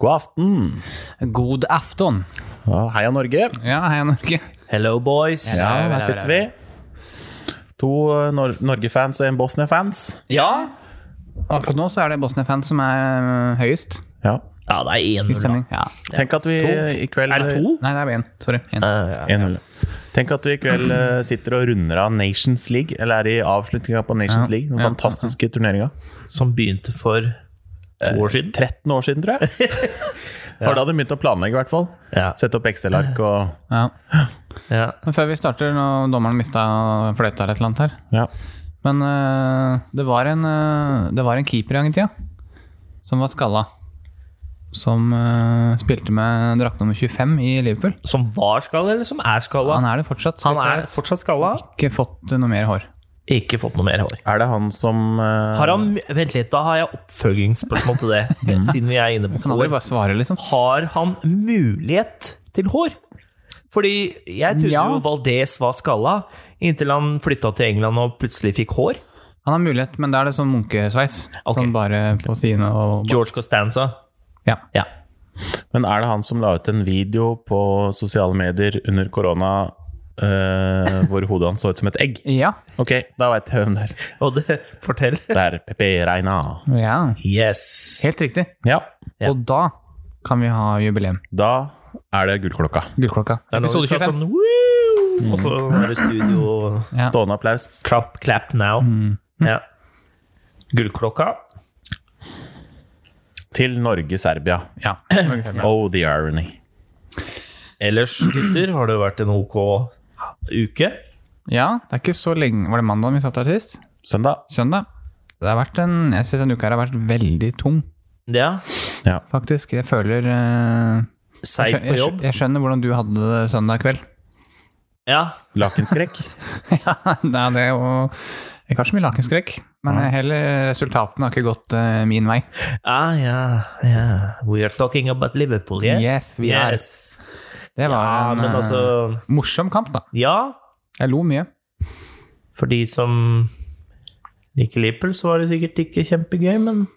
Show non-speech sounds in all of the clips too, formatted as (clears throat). God aften. God afton. Ja, Heia Norge. Ja, hei, Norge. Hello, boys. Ja, ja, ja, her sitter vi. To eh, Nor Norge-fans og en Bosnia-fans. Ja. Akkurat nå så er det Bosnia-fans som er øh, høyest. Ja. Ja, det er 1-0. Høyest da. stemning. Ja. Tenk at vi i kveld Er det to? Nei, det er én. Sorry. En. Ja, ja. 1-0. Tenk at vi i kveld eh, sitter og runder av Nations League, eller er i avslutninga på Nations League. Den Ja. fantastiske turneringa. Som begynte for eh, to år siden. 13 år siden, tror jeg. Var da de begynte å planlegge, i hvert fall. Ja. Sette opp Excel-ark og Ja. Ja. Men før vi starter, nå dommeren mista fløyta eller et eller annet her. ja. Men øh, det, var en, øh, det var en keeper i gang i tida som var skalla. Som øh, spilte med drakt nummer 25 i Liverpool. Som var skalla, eller som er skalla? Han er det fortsatt. så Han vidt jeg er vet. fortsatt skalla. ikke fått øh, noe mer hår. Ikke fått noe mer hår. Er det han som eh, Har han, vent litt, da har jeg oppfølgingsspørsmål (laughs) til det. Siden vi er inne på Kan aldri hår. bare svare, liksom. Har han mulighet til hår? Fordi jeg trodde Ja. jo Valdez var skalla, inntil han flytta til England og plutselig fikk hår. Han har mulighet, men da er det sånn munkesveis. Ok. Sånn bare på sidene og George Costanza. Ja. Ja. Men er det han som la ut en video på sosiale medier under korona (laughs) eh, hvor hodet hans så ut som et egg? Ja. Ok, da veit jeg hvem det er. Og det Fortell. Det er Pepe Reina. ja. (laughs) Yes. Helt riktig. Ja, Ja. Og da kan vi ha jubileum. da er det gullklokka. Gullklokka. Det er nå vi Episode Mm. skal 25. sånn «Woo!» Og så er det studio Ja. Stående applaus. Clap, clap now. Mm. Ja. Gullklokka. Til Norge-Serbia. sånn- (clears throat) Ja. Oh, the irony. Ellers, gutter, har det vært en OK uke? ja, det er ikke så lenge Var det mandag vi satt her sist? Søndag. Søndag? Det har vært en Jeg syns denne uka her har vært veldig tung, Ja. Ja. faktisk. Jeg føler eh, jeg, Seig skjø- på jeg, jobb? skjø- jeg skjønner hvordan du hadde det søndag kveld. (laughs) (laughs) Ja. Lakenskrekk. Nei, det er jo ikke har så mye lakenskrekk, men heller resultatene har ikke gått eh, min vei. Ah, ja, ja. We are talking about Liverpool, yes? Yes, we are. Yes. Det var Ja, en men eh, altså morsom kamp, da. Ja, Jeg lo mye. for de som liker Liverpool, så var det sikkert ikke kjempegøy, men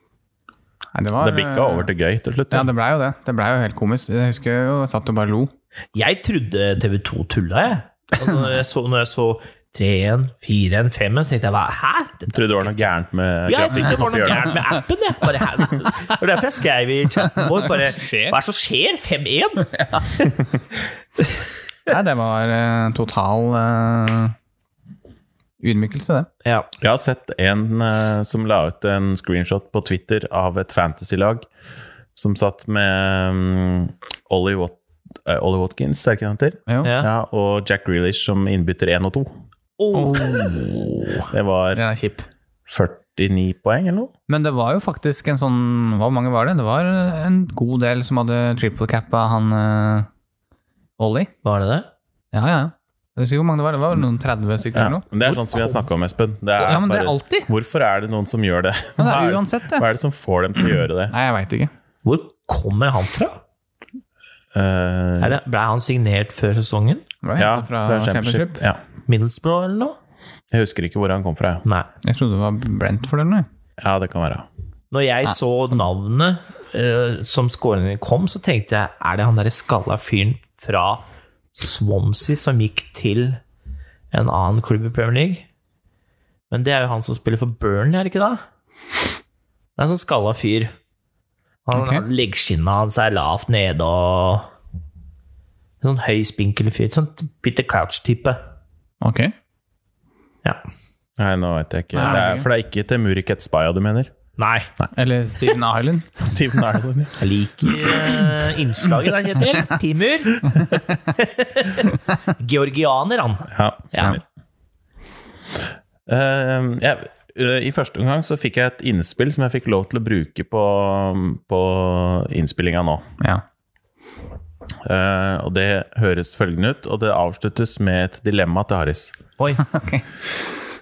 Nei, det var Det bikka over til gøy til slutt. Ja, det blei jo det. Det blei jo helt komisk. Jeg husker jo jeg satt og bare lo. Jeg trodde TV2 tulla, jeg. Altså, når, jeg så, når jeg så 3-1, 4-1, 5-1, så tenkte jeg hva, hæ? Dette- Trodde det var noe gærent med Ja, jeg trodde det grafikken var oppi noe hjørnet. gærent med appen, jeg. Bare, hæ? det var derfor jeg skrev i chatten vår bare Hva er det som skjer? 5-1? Nei, det var eh, total eh, ydmykelse, det. Ja. Jeg har sett en eh, som la ut en screenshot på Twitter av et fantasy-lag som satt med um, Ollie, Wat eh, Ollie Watkins, er det ikke det han heter? Jo. Ja. Ja, og Jack Grealish som innbytter 1 og 2. Oh, Det var Den er kjip. 49 poeng eller noe. Men det var jo faktisk en sånn Hvor mange var det? Det var en god del som hadde triple cap av han uh, Ollie. var det det? Ja, ja. Jeg husker ikke hvor mange det var. Det var vel noen 30 stykker Ja. eller noe. Men det er sånn som vi har snakka om, Espen. Det er Ja, men det er bare- alltid. Hvorfor er det noen som gjør det? Men det Hva er er- uansett, det. Hva er det som får dem til å gjøre det? Nei, jeg veit ikke. Hvor kommer han fra? Eh, Er det, ble han signert før sesongen? Det var ja, hentet fra Championship. Ja. Middlesbrough eller noe? Jeg husker ikke hvor han kom fra. Nei. Jeg trodde det var Brentford eller noe. Ja, det kan være. Når jeg så navnet eh, som skåringen kom, så tenkte jeg er det han derre skalla fyren fra Swansea som gikk til en annen klubb i Premier League? Men det er jo han som spiller for Burnley, er det ikke det? Det er en sånn skalla fyr. Han Ok. okay. Leggskinnet hans er lavt nede og en Sånn høy, spinkel fyr. Sånn Peter Crouch-type. Ok. Ja. Nei, nå vet jeg ikke. Nei, det er, ok. for det er ikke til Murik et Spaya du mener? (laughs) Nei. Eller Steven Island. Steven Ireland, ja. (laughs) Jeg liker eh, innslaget der, Kjetil. Timur. (laughs) Georgianer, han. Ja, stemmer. Ja. Eh, ja, eh, I første omgang så fikk jeg et innspill som jeg fikk lov til å bruke på, på innspillinga nå. (laughs) Ja. Eh, og det høres følgende ut, og det avsluttes med et dilemma til Haris. Oi. Ok.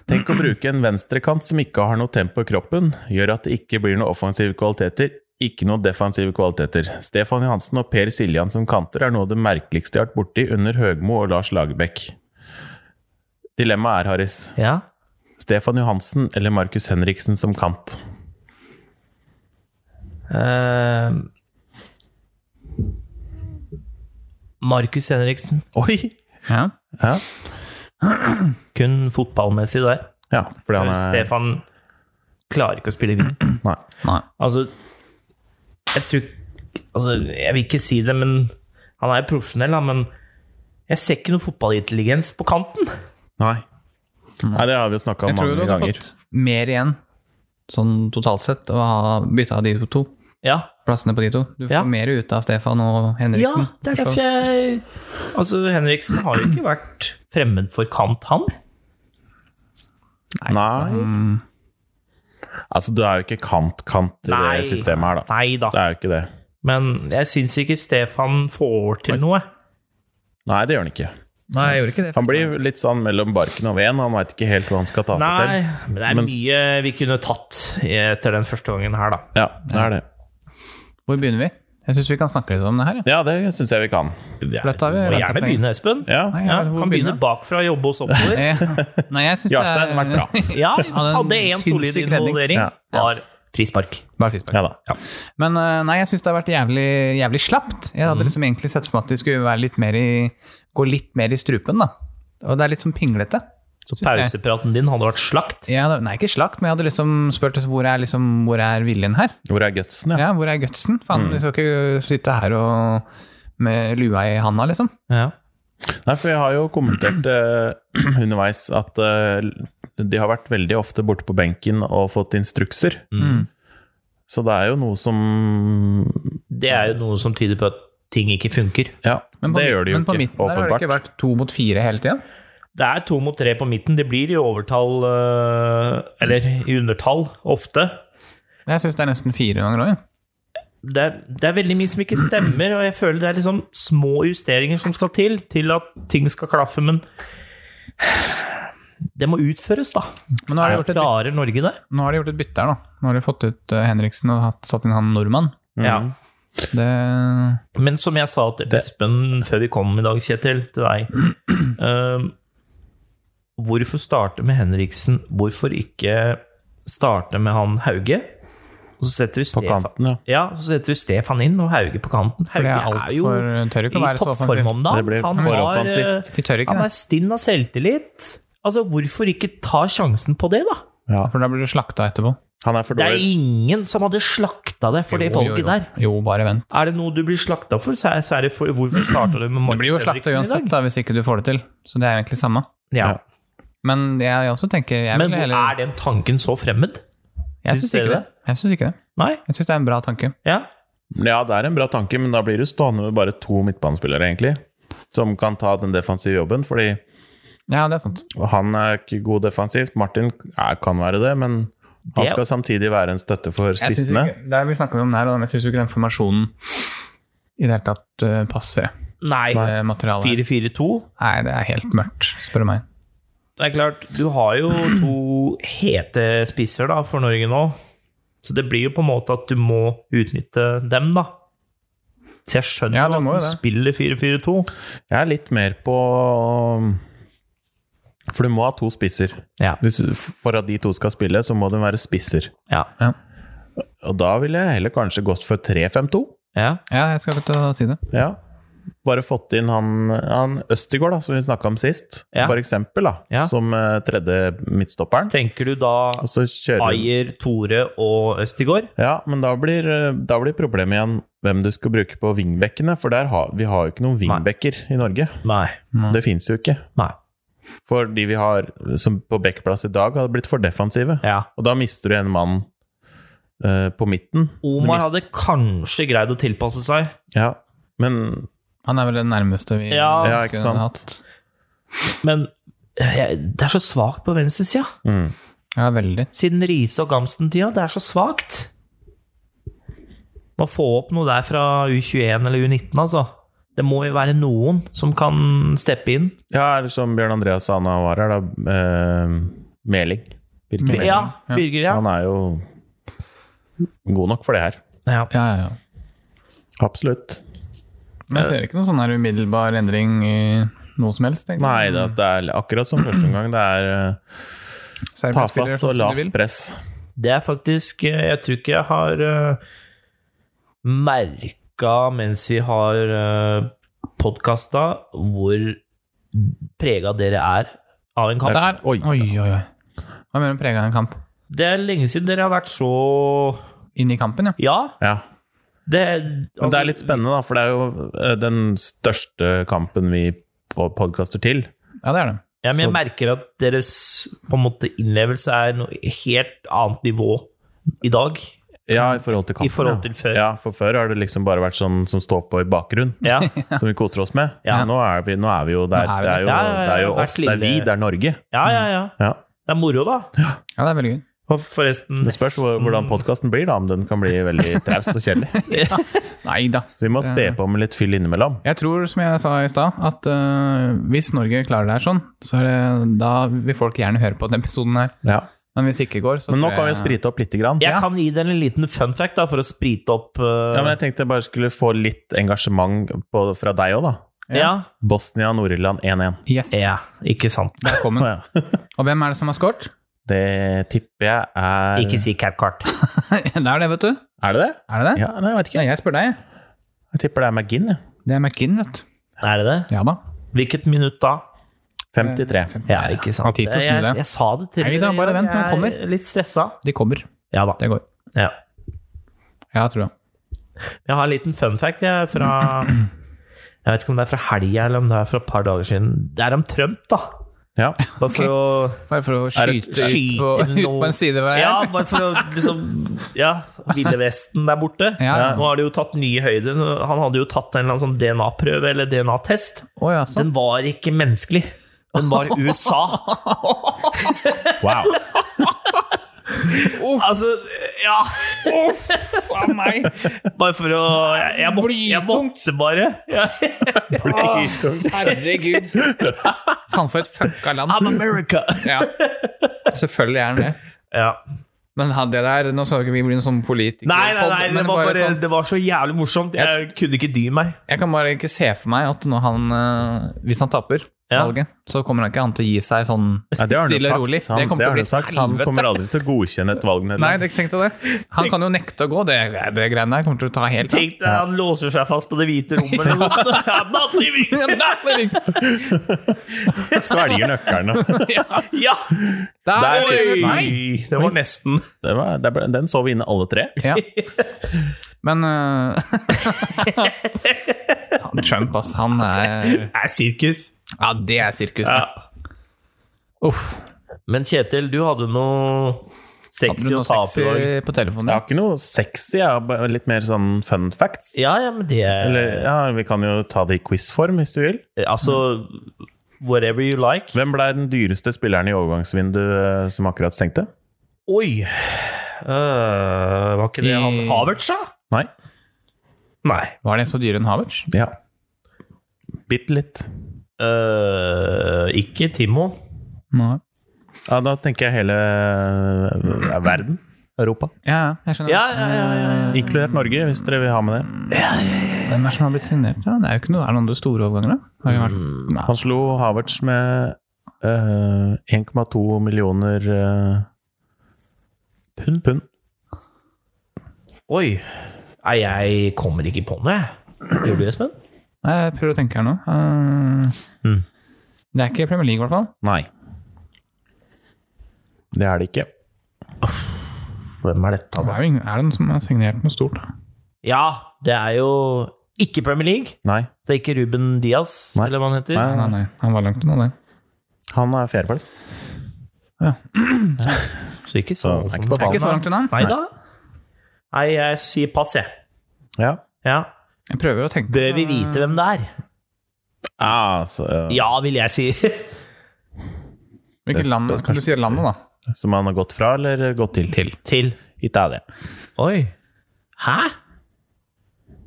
Tenk å bruke en venstrekant som ikke har noe tempo i kroppen, gjør at det ikke blir noen offensive kvaliteter, ikke noen defensive kvaliteter. Stefan Johansen og Per Siljan som kanter er noe av det merkeligste jeg har vært borti under Høgmo og Lars Lagerbäck. Dilemmaet er, Haris, Ja. Stefan Johansen eller Markus Henriksen som kant? Eh, Markus Henriksen. Oi! Ja. Ja, Kun fotballmessig der. ja fordi han er Stefan klarer ikke å spille videre. Nei. Nei. Altså, jeg tror altså, Jeg vil ikke si det, men han er profesjonell, da, men jeg ser ikke noe fotballintelligens på kanten. Nei. Nei, det har vi jo snakka Jeg om tror du mange hadde ganger. fått mer igjen, sånn totalt sett, å ha bytta de to Ja, plassene på de to. Du får Ja. mer ut av Stefan og Henriksen. ja det er for så derfor vidt. jeg Altså, Henriksen har jo ikke vært fremmed for kant, han. Nei. Mm. Altså, det er jo ikke kant-kant i Nei. det systemet her, da. Nei da. Det er jo ikke det. Men jeg syns ikke Stefan får til noe. Nei, det gjør han ikke. Nei, jeg gjorde ikke det. Han blir litt sånn mellom barken og veden. Han veit ikke helt hva han skal ta seg Nei, til. men det er Men- mye vi kunne tatt etter den første gangen her, da. Ja, det er det. Hvor begynner vi? Jeg syns vi kan snakke litt om det her. Ja. (laughs) Ja, det syns jeg vi kan. Dette har vi må ventet gjerne på lenge. begynne, Espen. Ja. Nei, Ja, jeg vet hvor kan vi begynne begynner. bakfra og jobbe oss (laughs) oppover. Eh, Nei, jeg syns det er Jarstein har vært bra. Ja, hadde en én solid sinnssyk redning. involvering. Ja. Var frispark. (laughs) Bare frispark. Ja da. Men eh, nei, jeg syns det har vært jævlig, jævlig slapt. Jeg Mhm. hadde liksom egentlig sett for meg at de skulle være litt mer i, gå litt mer i strupen, da. Og det er litt sånn pinglete. Så synes jeg. pausepraten din hadde vært slakt. Jeg hadde, nei, ikke slakt, men jeg hadde liksom spurt hvor er, liksom, hvor er viljen her? Hvor er gutsen, ja? Mhm. Ja, hvor er gutsen? Faen, vi skal ikke sitte her og med lua i handa, liksom. Ja. Nei, for jeg har jo kommentert eh, (clears throat) underveis at eh, de har vært veldig ofte borte på benken og fått instrukser. Mm. Så det er jo noe som Det er jo noe som tyder på at ting ikke funker. Ja, Men på, det mid- gjør de jo men på ikke, midten der har det åpenbart. ikke vært to mot fire hele tiden. Det er to mot tre på midten. Det blir i overtall eh, Eller i undertall ofte. Jeg syns det er nesten fire ganger òg. Det er, det er veldig mye som ikke stemmer, og jeg føler det er liksom små justeringer som skal til til at ting skal klaffe, men det må utføres, da. Men nå har, de gjort et, byt- Klarer Norge det? nå har de gjort et bytte her, da. Nå har de fått ut eh, Henriksen og hatt, satt inn han nordmann. Ja. Det Men som jeg sa til Espen før vi kom i dag, Kjetil, til deg (clears throat) ehm, Hvorfor starte med Henriksen? Hvorfor ikke starte med han Hauge? Og så setter vi På Stefan, kanten, ja. ja, så setter vi Stefan inn og Hauge på kanten. For det er Hauge er, jo altfor Tør ikke å i være så toppform offensiv. om dagen. Det blir Han for har, eh, offensivt. De tør ikke Han det. er stinn av selvtillit. Altså, hvorfor ikke ta sjansen på det, da? ja. For da blir du slakta etterpå. Han er for Det er dårlig. ingen som hadde slakta det for det Jo, jo, folket jo. der. Jo, bare vent. Er det noe du blir slakta for, så er så er det for Hvorfor starta du med Det blir jo Markus slakta Henriksen i uansett dag? da, hvis ikke du får det til. Så det er egentlig samme. Ja. Men jeg også tenker jeg Men ville hvor heller er den tanken så fremmed? Jeg syns syns dere ikke det. det? Jeg syns ikke det. Nei? Jeg syns det er en bra tanke. Ja. Ja, det er en bra tanke, men da blir du stående med bare to midtbanespillere, egentlig. Som kan ta den defensive jobben, fordi Ja, det er sant. han er ikke god defensivt. Martin er, kan være det, men han Det- skal samtidig være en støtte for Jeg synes spissene. ikke- det er- vi snakker om det her, og jeg syns ikke den formasjonen i det hele tatt eh, passer Nei. eh, materialet. 4-4-2. Nei, det er helt mørkt, spør du meg. Det er klart, du har jo to hete spisser da, for Norge nå. Så det blir jo på en måte at du må utnytte dem, da. Så jeg skjønner Ja, jo du at må jo du det. spiller 4-4-2. Jeg er litt mer på For du må ha to spisser. Ja. Hvis, for at de to skal spille, så må de være spisser. Ja. Og da ville jeg heller kanskje gått for 3-5-2. ja. Ja, jeg skal ikke til å si det. Ja. Bare fått inn han, han Østigård, da, som vi snakka om sist, Ja. for eksempel, da, Ja. som eh, tredje midtstopperen. Tenker du da Og så kjører Ayer, Tore og Østigård? Ja, men da blir, eh, da blir problemet igjen hvem du skal bruke på vingbekkene, for der har, vi har jo ikke noen Nei. vingbekker i Norge. Nei. Det fins jo ikke. Nei. For de vi har som på backplass i dag, hadde blitt for defensive. Ja. Og da mister du en mann eh, på midten. Omar Du hadde kanskje greid å tilpasse seg. Ja, men Han er vel den nærmeste vi Ja. Ja, ikke sant. hatt. Men eh, det er så svakt på venstresida. mm. Ja, veldig. Siden Riise og Gamsten-tida. Det er så svakt. Må få opp noe der fra U21 eller U19, altså. Det må jo være noen som kan steppe inn. Ja, eller som Bjørn Andreas Ana var her, da. Eh, Meling. Birke Meling. Meling. Ja, Ja. Birger, ja. Han er jo god nok for det her. ja. Ja, ja, ja. Absolutt. Men jeg Eh. ser ikke noen sånn her umiddelbar endring i noe som helst, egentlig. Nei, det, det er akkurat som første omgang. Det er eh, Serbia spiller tafatt og sånn som de vil. lavt press. Det er faktisk eh, Jeg tror ikke jeg har uh, merka mens vi har eh, podkasta hvor prega dere er av en kamp. Der! Oi, Oi. oi, oi. Hva mener du prega en kamp? Det er lenge siden dere har vært så Inn i kampen, ja. Ja, Ja. det Men det altså, er litt spennende, da, for det er jo eh, den største kampen vi på- podkaster til. Ja, det er det. Ja, men jeg Så- merker at deres på en måte, innlevelse er noe helt annet nivå i dag. Ja, i forhold til kampen. I forhold ja. til før. Ja, for før har det liksom bare vært sånn som står på i bakgrunn, Ja, som vi koser oss med. Ja. Nå, er vi, nå er vi jo der. Nå er vi Det er jo, der. Ja, ja, ja, det er jo hvert oss, det er vi, lille- det er Norge. ja, ja. ja. Ja. Det er moro, da. Ja, det er veldig gøy. Og forresten Det spørs hvor- hvordan podkasten blir, da, om den kan bli veldig traust og kjedelig. Nei da. Eh, Så vi må spe på med litt fyll innimellom. Jeg tror, som jeg sa i stad, at eh, hvis Norge klarer det her sånn, så er det, da vil folk gjerne høre på denne episoden her. Ja. Men hvis det ikke går, så Men nå tror kan vi jeg- sprite opp lite grann. Jeg Ja. kan gi dere en liten fun fact da, for å sprite opp uh, Ja, men jeg tenkte jeg bare skulle få litt engasjement på, fra deg òg, da. ja. Bosnia-Nord-Irland 1-1. Yes, ja, ikke sant. velkommen. (laughs) Å, ja. Og hvem er det som har scoret? Det tipper jeg er Ikke si (laughs) Cathcart. det er det, vet du. Er det det? Er det det? Ja, nei, jeg vet ikke. Nei, jeg spør deg. jeg. Jeg tipper det er McGinn, jeg. Det er McGinn, vet du. Er det det? Ja da. Hvilket minutt da? 53. Ja, ikke sant. Har tid til å jeg, snu det. jeg sa det til Nei da, bare vent, den jeg kommer. er litt stressa. De kommer. Ja da. Det går. Ja. Ja, tror jeg. Jeg har en liten fun fact jeg, fra Jeg vet ikke om det er fra helga eller om det er fra et par dager siden. Det er om Trump, da. Ja. Bare for Bare for å Er det- skyte, ut, på, skyte ut noe- (laughs) på en sidevei. å her. Ja, bare for å liksom Ja, Ville Vesten der borte. Ja. Nå har de jo tatt nye høyder. Han hadde jo tatt en eller annen sånn DNA-prøve eller DNA-test. Å ja, sånn. Den var ikke menneskelig. Den (laughs) var USA. (laughs) Wow. Altså, ja Av meg! Bare for å Jeg, jeg, må, jeg måtte bare. Ja. Herregud. Faen for et fucka land. I'm America. Ja. Selvfølgelig er den det. Ja. Men hadde jeg der Nå skal ikke vi bli noen sånn politiker. Nei, nei, nei, men det var, bare bare, sånn- det var så jævlig morsomt. Jeg kunne ikke dy meg. Jeg kan bare ikke se for meg at når han eh, Hvis han taper Ja. valget, så kommer han ikke an til å gi seg sånn Ja, det har han jo stille og sagt. rolig. Han, det kommer har han til å bli jo sagt. Han helvete. kommer aldri til å godkjenne et valg. Nederland. Nei, det tenkte jeg det. Han kan jo nekte å gå. Det, det greiene der kommer til å ta helt (laughs) av. Tenk deg, han låser seg fast på det hvite rommet. eller (laughs) noe sånt. Ja, not leaving! Svelger nøkkerne. Ja! Der, Der Oi! sier- Nei. Nei, det var nesten. (laughs) Det var, det ble, den så vi inne alle tre. Ja. Men (laughs) eh, han Trump, ass. Han er Det er sirkus. Ja, det er sirkus. Ja. det. Uff. Men Kjetil, du hadde noe Hadde sexy du å noe eh, ta opp i dag. sexy på telefonen? Jeg Ja. har ikke noe sexy, jeg har bare litt mer sånn fun facts. Ja, ja, men det Eller, ja, vi kan jo ta det i quiz-form, hvis du vil. Altså, whatever you like. Hvem ble den dyreste spilleren i overgangsvinduet eh, som akkurat stengte? Oi! Øh, var ikke det han I- Havertz, da? Nei? Nei. Var det en som var dyrere enn Havertz? Ja. Bitte litt. Øh, ikke Timo. Nei. Ja, da tenker jeg hele eh, verden. Europa. Ja, ja, jeg skjønner. Ja, ja, ja, ja, ja. Inkludert Norge, hvis dere vil ha med det. Eh, Hvem er det som har blitt signert? da? Det er jo ikke noe, er det noen store overganger, da? Har det vært? Nei. Mm. Han slo Havertz med eh, 1,2 millioner eh, pund. pund. Oi. Nei, jeg kommer ikke på noe, jeg. Gjorde du, Espen? Nei, jeg prøver å tenke her nå. Eh, Mm. Det er ikke Premier League, i hvert fall. Nei. Det er det ikke. Hvem er dette, Det da? er, jo ingen, er det noen som har signert noe stort? da? Ja, det er jo ikke Premier League. Nei. Det er ikke Ruben Diaz, Nei. eller hva han heter. Nei. Nei, nei, han var langt unna det. Han er fjerdeplass. Så ikke Så så det er ikke på Ikke så ballen. langt unna. Nei da. Nei, jeg sier pass, jeg. Ja. Ja. Jeg prøver å tenke. Bør vi vite hvem det er? Ah, så, eh, Ja, vil jeg si. (laughs) Hvilket land Kan du si landet, da? eh, Som han har gått fra, eller gått til? Til. Til. Italia. Oi. Hæ?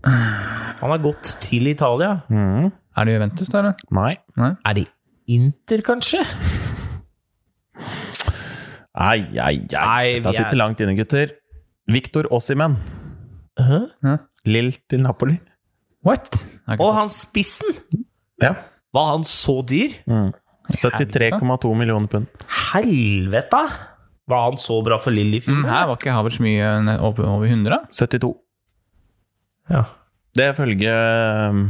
Han har gått til Italia. Mhm. Er det Juventus, da? eller? Nei. Nei. Er det Inter, kanskje? Ai, ai, ai. Nei, Dette vi er- sitter langt inne, gutter. Victor Ossimen. Hæ? Hæ? Lill til Napoli. What? Jeg har ikke Og han spissen! Ja. Var han så dyr? 73,2 millioner pund. Helvete! Var han så bra for Lill i fått- fjor? Mm, Her var ikke Havertz mye ne- over over 100? da? 72. Ja. Det er ifølge um,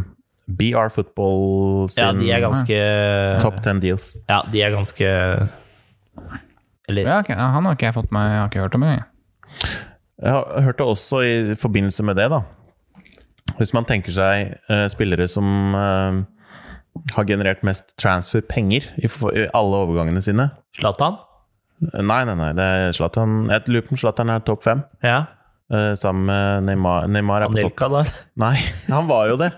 BR Football sin Ja, de er ganske top ten deals. Ja, de er ganske Eller Ja, ok, ja, han har ikke jeg fått med, jeg har ikke hørt om engang. Jeg har hørt det også i forbindelse med det, da. Hvis man tenker seg eh, spillere som eh, har generert mest transferpenger i, for- i alle overgangene sine Zlatan? Nei, nei, nei, det er Zlatan. Jeg lurer på om Zlatan er topp fem, Ja. eh, sammen med Neymar. Neymar er på topp. Anelka, da? Nei, (laughs) han var jo det.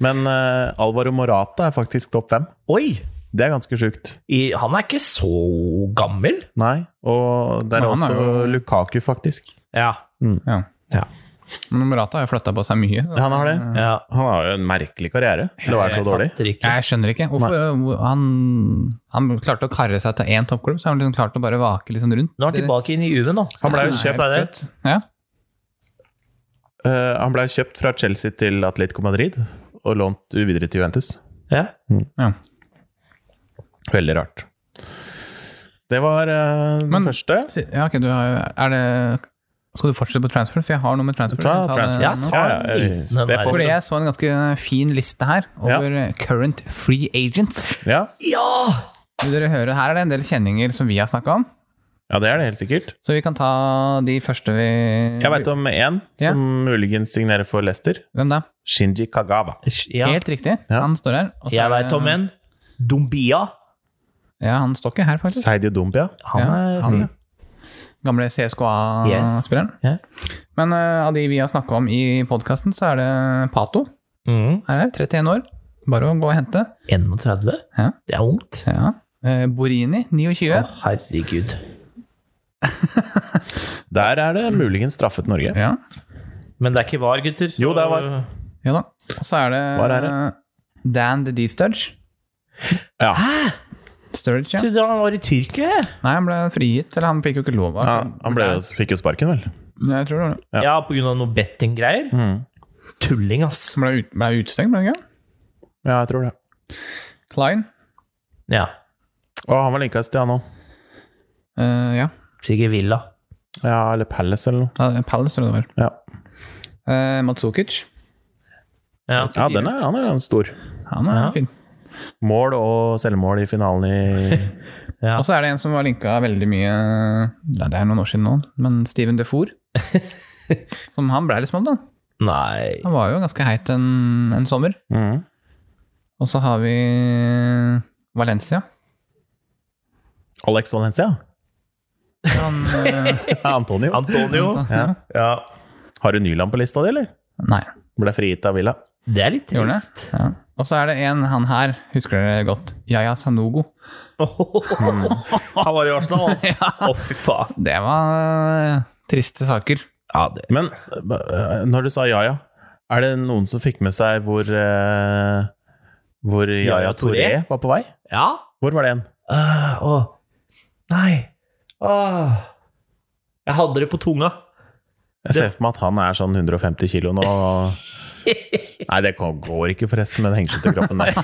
Men eh, Alvaro Morata er faktisk topp fem. Oi! Det er ganske sjukt. I, han er ikke så gammel. Nei, og der er Men han også er jo- Lukaku, faktisk. Ja. Ja. Ja. Men Morata har jo flytta på seg mye. så- Han har det. ja. Han har jo en merkelig karriere til å være så Jeg dårlig. fatter ikke. Jeg skjønner ikke. Hvorfor, hvor- han, han klarte å karre seg til én toppklubb, så har han liksom klart å bare vake liksom rundt. Nå er han tilbake inn i UV, nå. Han ble jo Skal jeg kjøpt, si det? Ja. Eh, han ble kjøpt fra Chelsea til Atletico Madrid og lånt videre til Juventus. Ja. ja. Veldig rart. Det var eh, den Men- første. Si- ja ok, du har, er det, skal du fortsette på transfer? For jeg har noe med transfer. Ta Ta det transfer. Ja, nå. ta Ja, ja, en liten spe en på. Fordi der. jeg så en ganske fin liste her over current free agents. Ja. Ja! Vil dere høre, Her er det en del kjenninger som vi har snakka om. ja, det er det helt sikkert. Så vi kan ta de første vi Jeg veit om én Ja. som muligens signerer for Leicester. Hvem da? Shinji Kagawa. ja. Helt riktig. Ja. Han står her. og så Jeg er veit det- om en. Dombia. Ja, han står ikke her, faktisk. Seidio Dumbia. Han Ja, er han, fin. ja. Gamle CSKA-spilleren. Yes. Ja. Men eh, av de vi har snakka om i podkasten, så er det Pato. Mhm. Her er 31 år. Bare å gå og hente. 31? Ja. Det er ungt. Ja. Eh, Borini, 29. Å, herregud. Der er det muligens straffet Norge. Ja. Men det er ikke var, gutter. så- Jo, det er var. ja da. Og så er det Hva er det? eh, Dan The D-Studge. Ja. Sturridge, ja. Jeg trodde han var i Tyrkia. jeg. Nei, han ble frigitt, eller han fikk jo ikke lov av Ja, han ble, jo- fikk jo sparken, vel. Nei, Jeg tror det var det. Ja. Mm. Ja, på grunn av noe bettinggreier. Tulling, ass. Han ble, ut, ble utestengt, ble han ikke? Ja, jeg tror det. Klein. Ja. Og han var linka til han òg. Eh, ja. Sikkert Villa. Ja, eller Palace eller noe. Ja, Palace, tror jeg det var. Ja, Eh, Matsukic. Ja. ja den er, han er ganske stor. Han er Ja. fin. Mål og selvmål i finalen i (laughs) Ja. Og så er det en som var linka veldig mye Nei, Det er noen år siden nå, men (laughs) Steven Defour. som han ble liksom om, da. Nei Han var jo ganske heit en, en sommer. Mhm. Og så har vi Valencia. Alex Valencia. Han, eh, (laughs) Ja, Antonio. Antonio. Ja. Ja. Har du Nyland på lista di, eller? Nei. Ble frigitt av Villa. Det er litt Gjorde han trist. Ja. Og så er det en han her, husker dere godt. Yaya Sanogo. Mm. Han var i (laughs) Arsenal. Å, fy faen. Det var eh, triste saker. Ja, det Men øh, når du sa Jaja, er det noen som fikk med seg hvor øh, Hvor Jaja Yaya Touré? Touré var på vei? Ja? Hvor var det en? Øh, Å. Nei. Åh. Jeg hadde det på tunga. Jeg ser for meg at han er sånn 150 kilo (laughs) nå. og- Nei, det kan- går ikke forresten med den hengslete kroppen der.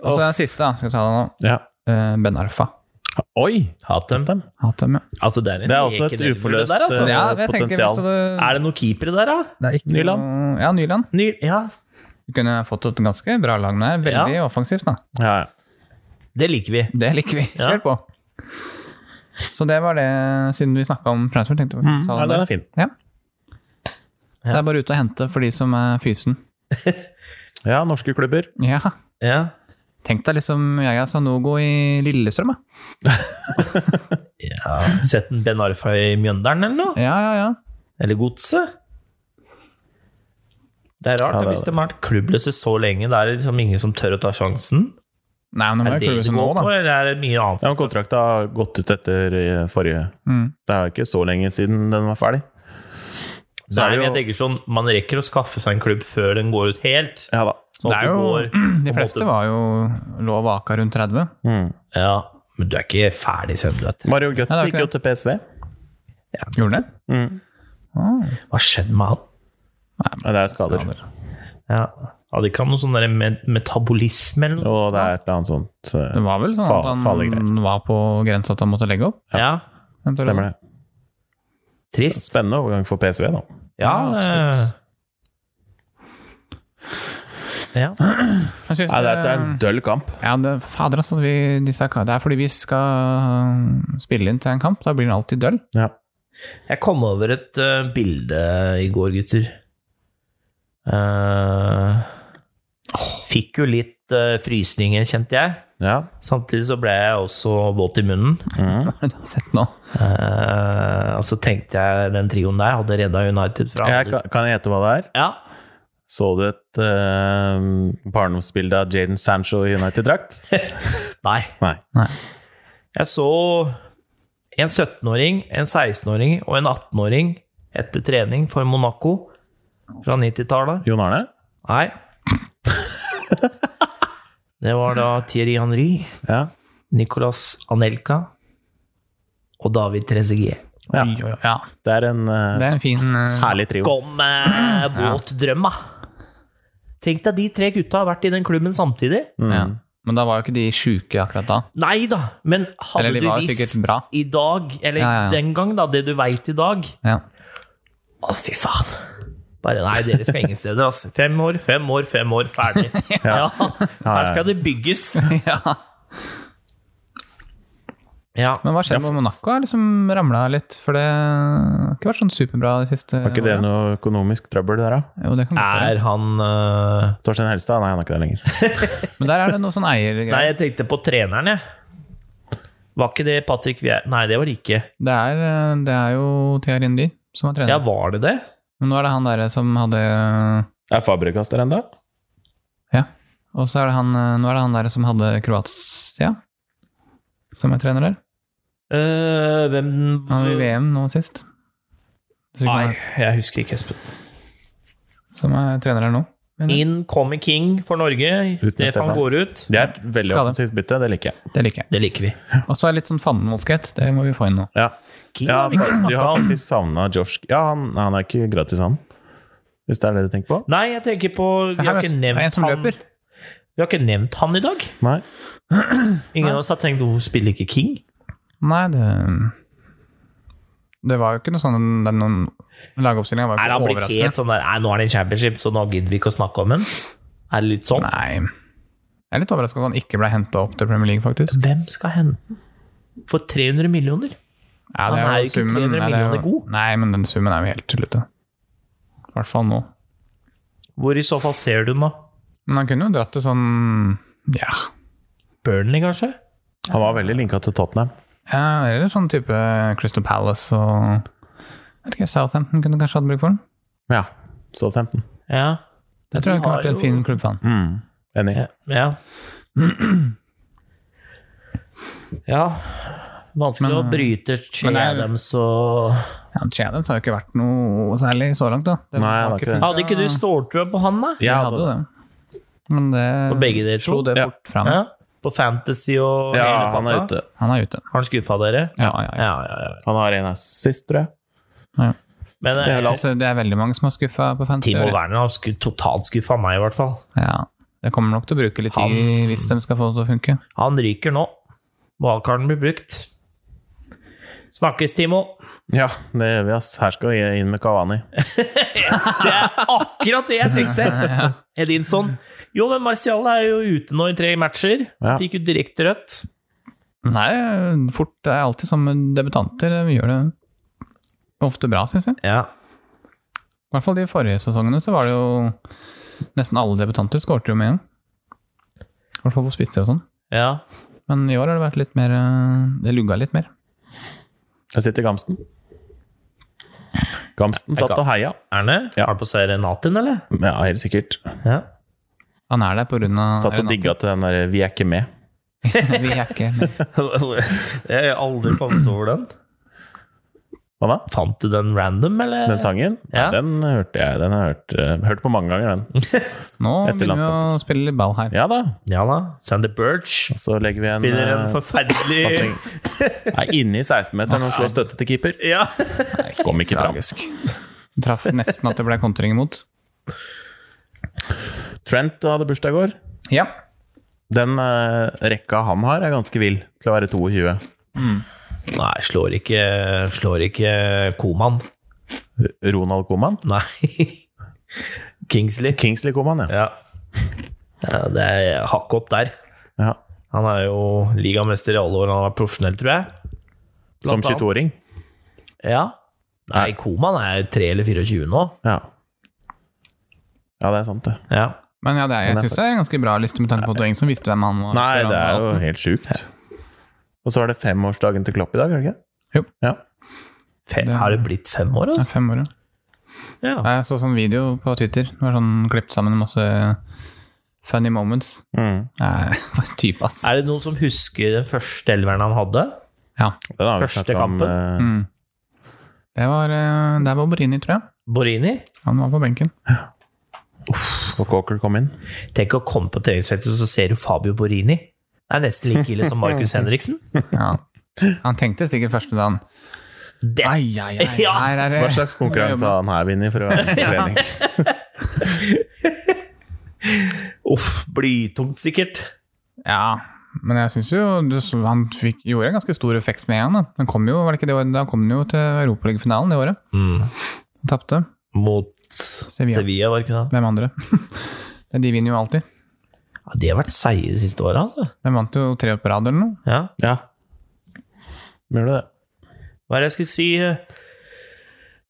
Og så den siste, da. Skal vi ta den nå. (laughs) Ja. Eh, Ben Arfa. Oi! Hatt dem. dem. Hatt dem, ja. Altså, det, er en Det er også leken et elver, det uforløst, der, altså. eh, ja jeg tenker, potensial. hvis det- Er det noen keepere der, da? det er ikke Nyland? noe- Ja, Nyland. Ny, ja. Du kunne fått et ganske bra lag der. Veldig offensivt, da. Ja, ja. Det liker vi. Det liker vi. Kjør på. Så det var det, siden vi snakka om transfer. tenkte jeg ja, mm, den er det. fin. Så det er bare ute og hente for de som er fysen. Ja, norske klubber. Ja. Ja. Tenk deg liksom Yaya Sanogo i Lillestrøm, da. ja. Sett en Ben Arfa i Mjøndalen eller noe? Ja, ja, ja. Eller Godset? Det er rart Ja, da, det er hvis de har vært klubbløse så lenge. Det er liksom ingen som tør å ta sjansen. Nei, men det må Er jo det det klubbes nå, går på, da. eller er det mye annet? Ja, men som- Kontrakta har gått ut etter eh, forrige Mm. Det er jo ikke så lenge siden den var ferdig. Så Nei, er men det jeg jo tenker sånn, Man rekker å skaffe seg en klubb før den går ut helt. Ja da. Sånn at Det er du jo- går, De fleste var jo lå og vaka rundt 30. Mm. ja, Men du er ikke ferdig selv om du er tre. Mario Götze Ja, det er gikk ikke jo til PSV. Gjorde det? Mm. Ah, Hva skjedde med han? Ja, det er skader. skader. Ja, Hadde ikke han noe sånn der med metabolisme eller noe? Og det er et eller annet sånt. Det eh, var vel sånn Fa- at farlige han var på grensa til han måtte legge opp? Ja, en periode. Stemmer det. Trist. Spennende overgang for PSV, da. Ja, Ja, absolutt. eh, Ja. Jeg synes, Nei, dette er eh, en døll kamp. Ja, det, fader, altså, vi, disse, ka- det er fordi vi skal øh, spille inn til en kamp. Da blir den alltid døll. (laughs) Ja. Jeg kom over et eh, bilde i går, gutter. Eh, fikk jo litt eh, frysninger, kjente jeg. ja. Samtidig så ble jeg også våt i munnen. Mhm. Hva er det du har sett nå? Eh, og så tenkte jeg den trioen der hadde redda United fra Jeg, kan- kan jeg gjette hva det er? Ja. Så du et eh, barndomsbilde av Jaden Sancho i United-drakt? (laughs) Nei. Nei. Jeg så en 17-åring, en 16-åring og en 18-åring etter trening for Monaco fra 90-tallet. Jon Arne? Nei. (laughs) Det var da Thierry Henry, Ja. Nicolas Anelka og David Trezeguet. Ja. Oi, oi, oi. ja. Det er en eh, Det er en fin øh, herlig trio. Kom eh, våt drøm, da! Tenk deg de tre gutta har vært i den klubben samtidig. ja. Men da var jo ikke de sjuke akkurat da. Nei da, men hadde Eller de du var jo visst sikkert bra. i dag, eller Ja, ja. den gang, da, det du veit i dag Ja. (laughs) Å, fy faen. Bare nei, dere skal ingen steder, altså. Fem år, fem år, fem år, ferdig. (laughs) Ja, her skal det bygges. ja. Ja. Men hva skjedde med Monaco? Jeg liksom ramla litt, for det har ikke vært sånn superbra de siste Har ikke det noe økonomisk trøbbel der, da? Jo, det kan godt være. Er han eh, Torstein Helstad? Nei, han er ikke der lenger. Men der er det noe sånn (laughs) Nei, eiergreier. jeg tenkte på treneren, jeg. Var ikke det Patrick Vier... Nei, det var det ikke. Det er, øh, det er jo Thea Rindli som er trener. Ja, var det det? Men nå er det han derre som hadde Er Fabregas der ennå? Ja. Og så er det han øh, Nå er det han derre som hadde Kroatia som er trener der. Eh, hvem Han var i VM nå sist. Så ikke Nei, han- jeg husker ikke, Espen. Som er trener her nå. Men In coming king for Norge. Uten Stefan Stefan. går ut. Det er et veldig Skade. offensivt bytte, det liker jeg. det liker jeg. Det liker vi. Og så er det litt sånn fandenivoldskhet. Det må vi få inn nå. Ja, King ja har vi ikke for, de snakket har om. faktisk savna Josh Ja, han, han er ikke gratis, han. Hvis det er det du tenker på? Nei, jeg tenker på Se Vi her, har vet du. ikke Det er en nevnt som han løper. Vi har ikke nevnt han i dag. Nei. Ingen av oss har tenkt hvorfor spiller ikke King? Nei, det Det var jo ikke noe sånn den noen Lagoppstillinga var Er jo han ikke blitt helt overraskende. sånn der Nei, nå er det en championship, så nå gidder vi ikke å snakke om den? Er det litt sånn? Nei. Jeg er litt overraska at han ikke ble henta opp til Premier League, faktisk. Hvem skal hente den? For 300 millioner? Ja, Han er jo ikke 300 Nei, det er jo- millioner god. Nei, men den summen er jo helt tullete. I hvert fall nå. Hvor i så fall ser du den, da? Men han kunne jo dratt til sånn Ja. Burnley, kanskje? Han var veldig linka til Tottenham. ja eller sånn type Crystal Palace og jeg vet ikke, Southampton kunne kanskje hatt bruk for den. Ja. Så 15. Ja. Det tror jeg De kunne har vært en jo- fin klubb for han. Mm. Enig. Ja. ja. (clears throat) ja. Vanskelig Men, å bryte men det er- Chedems og Ja, Chadhams har jo ikke vært noe særlig så langt, da. Nei, Det var han har ikke det. funket. Hadde ikke du ståltrua på han, da? Jeg Ja, hadde jo det. Men det På begge dere slo to? det Ja. fort fram. Ja. På Fantasy og ja, hele han er pakka? ute. Han er ute. Har han skuffa dere? Ja, ja, ja. Ja, ja, ja. Han har en assist, tror jeg. Men Det er eh, vel Jeg synes det er veldig mange som har skuffa på fantasy. Timo i år. Werner har sku, totalt skuffa meg, i hvert fall. Ja. Det kommer nok til å bruke litt Han- tid hvis de skal få det til å funke. Han ryker nå. Valgkarten blir brukt. Snakkes, Timo. Ja, det gjør vi, ass. Her skal vi inn med Kavani. Det er akkurat det jeg (laughs) tenkte! Edinson. Jo, men Martial er jo ute nå i tre matcher. Ja. Fikk jo direkte rødt. Nei, fort det er alltid som med debutanter. Vi gjør det ofte bra, syns jeg. Ja. I hvert fall de forrige sesongene så var det jo nesten alle debutanter skårte jo med igjen. I hvert fall på spisser og sånn. ja. Men i år har det vært litt mer eh, Det lugga litt mer. Jeg sitter i Gamsten. Gamsten satt og heia. Erne, Ja. har du på seg Renatin, eller? Ja, helt sikkert. Ja. Han er der på grunn av Satt og Renate. digga til den derre 'vi er ikke med'. (laughs) Vi er ikke med. Jeg har aldri kommet over den. Hva da? Fant du den random, eller? Den sangen? Ja. Den hørte jeg. Den har jeg hørt, eh, hørt på mange ganger, den. Nå Etter begynner vi å spille litt ball her. Ja da. Ja da. Sander Birch. Og så legger vi en Spiller en eh, forferdelig Nei, inne i 16-meteren og slår støtte til keeper. (laughs) Ja. Kom ikke fram. Tragisk. Traff nesten at det ble kontring imot. Trent hadde bursdag i går. Ja. Den eh, rekka han har, er ganske vill til å være 22. Nei, slår ikke, slår ikke Koman. Ronald Koman? (laughs) Nei. Kingsley. Kingsley Koman, ja. Ja. Ja, det er hakket opp der. Ja. Han er jo ligamester i alle år han har vært profesjonell, tror jeg. Som Blant annet. 22-åring. Ja. Nei, Koman er 3 eller 24 nå. Ja. ja, det er sant, det. Ja. Men ja, det er, Men det er jeg syns det er en ganske bra liste med tanke på at det var ingen som visste hvem han var. Nei, før han det er jo var 18. helt sjukt. Og så er det femårsdagen til Klopp i dag, er det ikke? Jo. Ja. Fem, Det- har det blitt fem år, Det altså? er fem år, ja. Ja. Jeg så sånn video på Twitter. Det var sånn klippet sammen med masse funny moments. Mm. Nei, (laughs) for en type, ass. Er det noen som husker den første elveren han hadde? Ja. Den har vi Første snakket om, kampen. eh, Mm. Det var eh, Der var Borini, tror jeg. Borini? Han var på benken. hvor Cocker kom inn. Tenk å komme på treningsfeltet, så ser du Fabio Borini. Det er nesten like ille som Markus Henriksen. Ja. Han tenkte sikkert første dagen Det Ai, ai, ai, Ja. her er det Hva slags konkurranse har han her vunnet for å (laughs) være på trening? Uff, blytungt sikkert. Ja, men jeg syns jo du så- han fikk, gjorde en ganske stor effekt med en. Da han kom jo, var det ikke det året? Da kom han jo til Europaligafinalen det året. Han tapte. Mot Sevilla. var det ikke det? Hvem andre? (laughs) De vinner jo alltid. Ja, de har vært seige de siste åra, altså. De vant jo tre år på rad eller noe. Ja. Ja. Gjør du det? Hva er det jeg skulle si?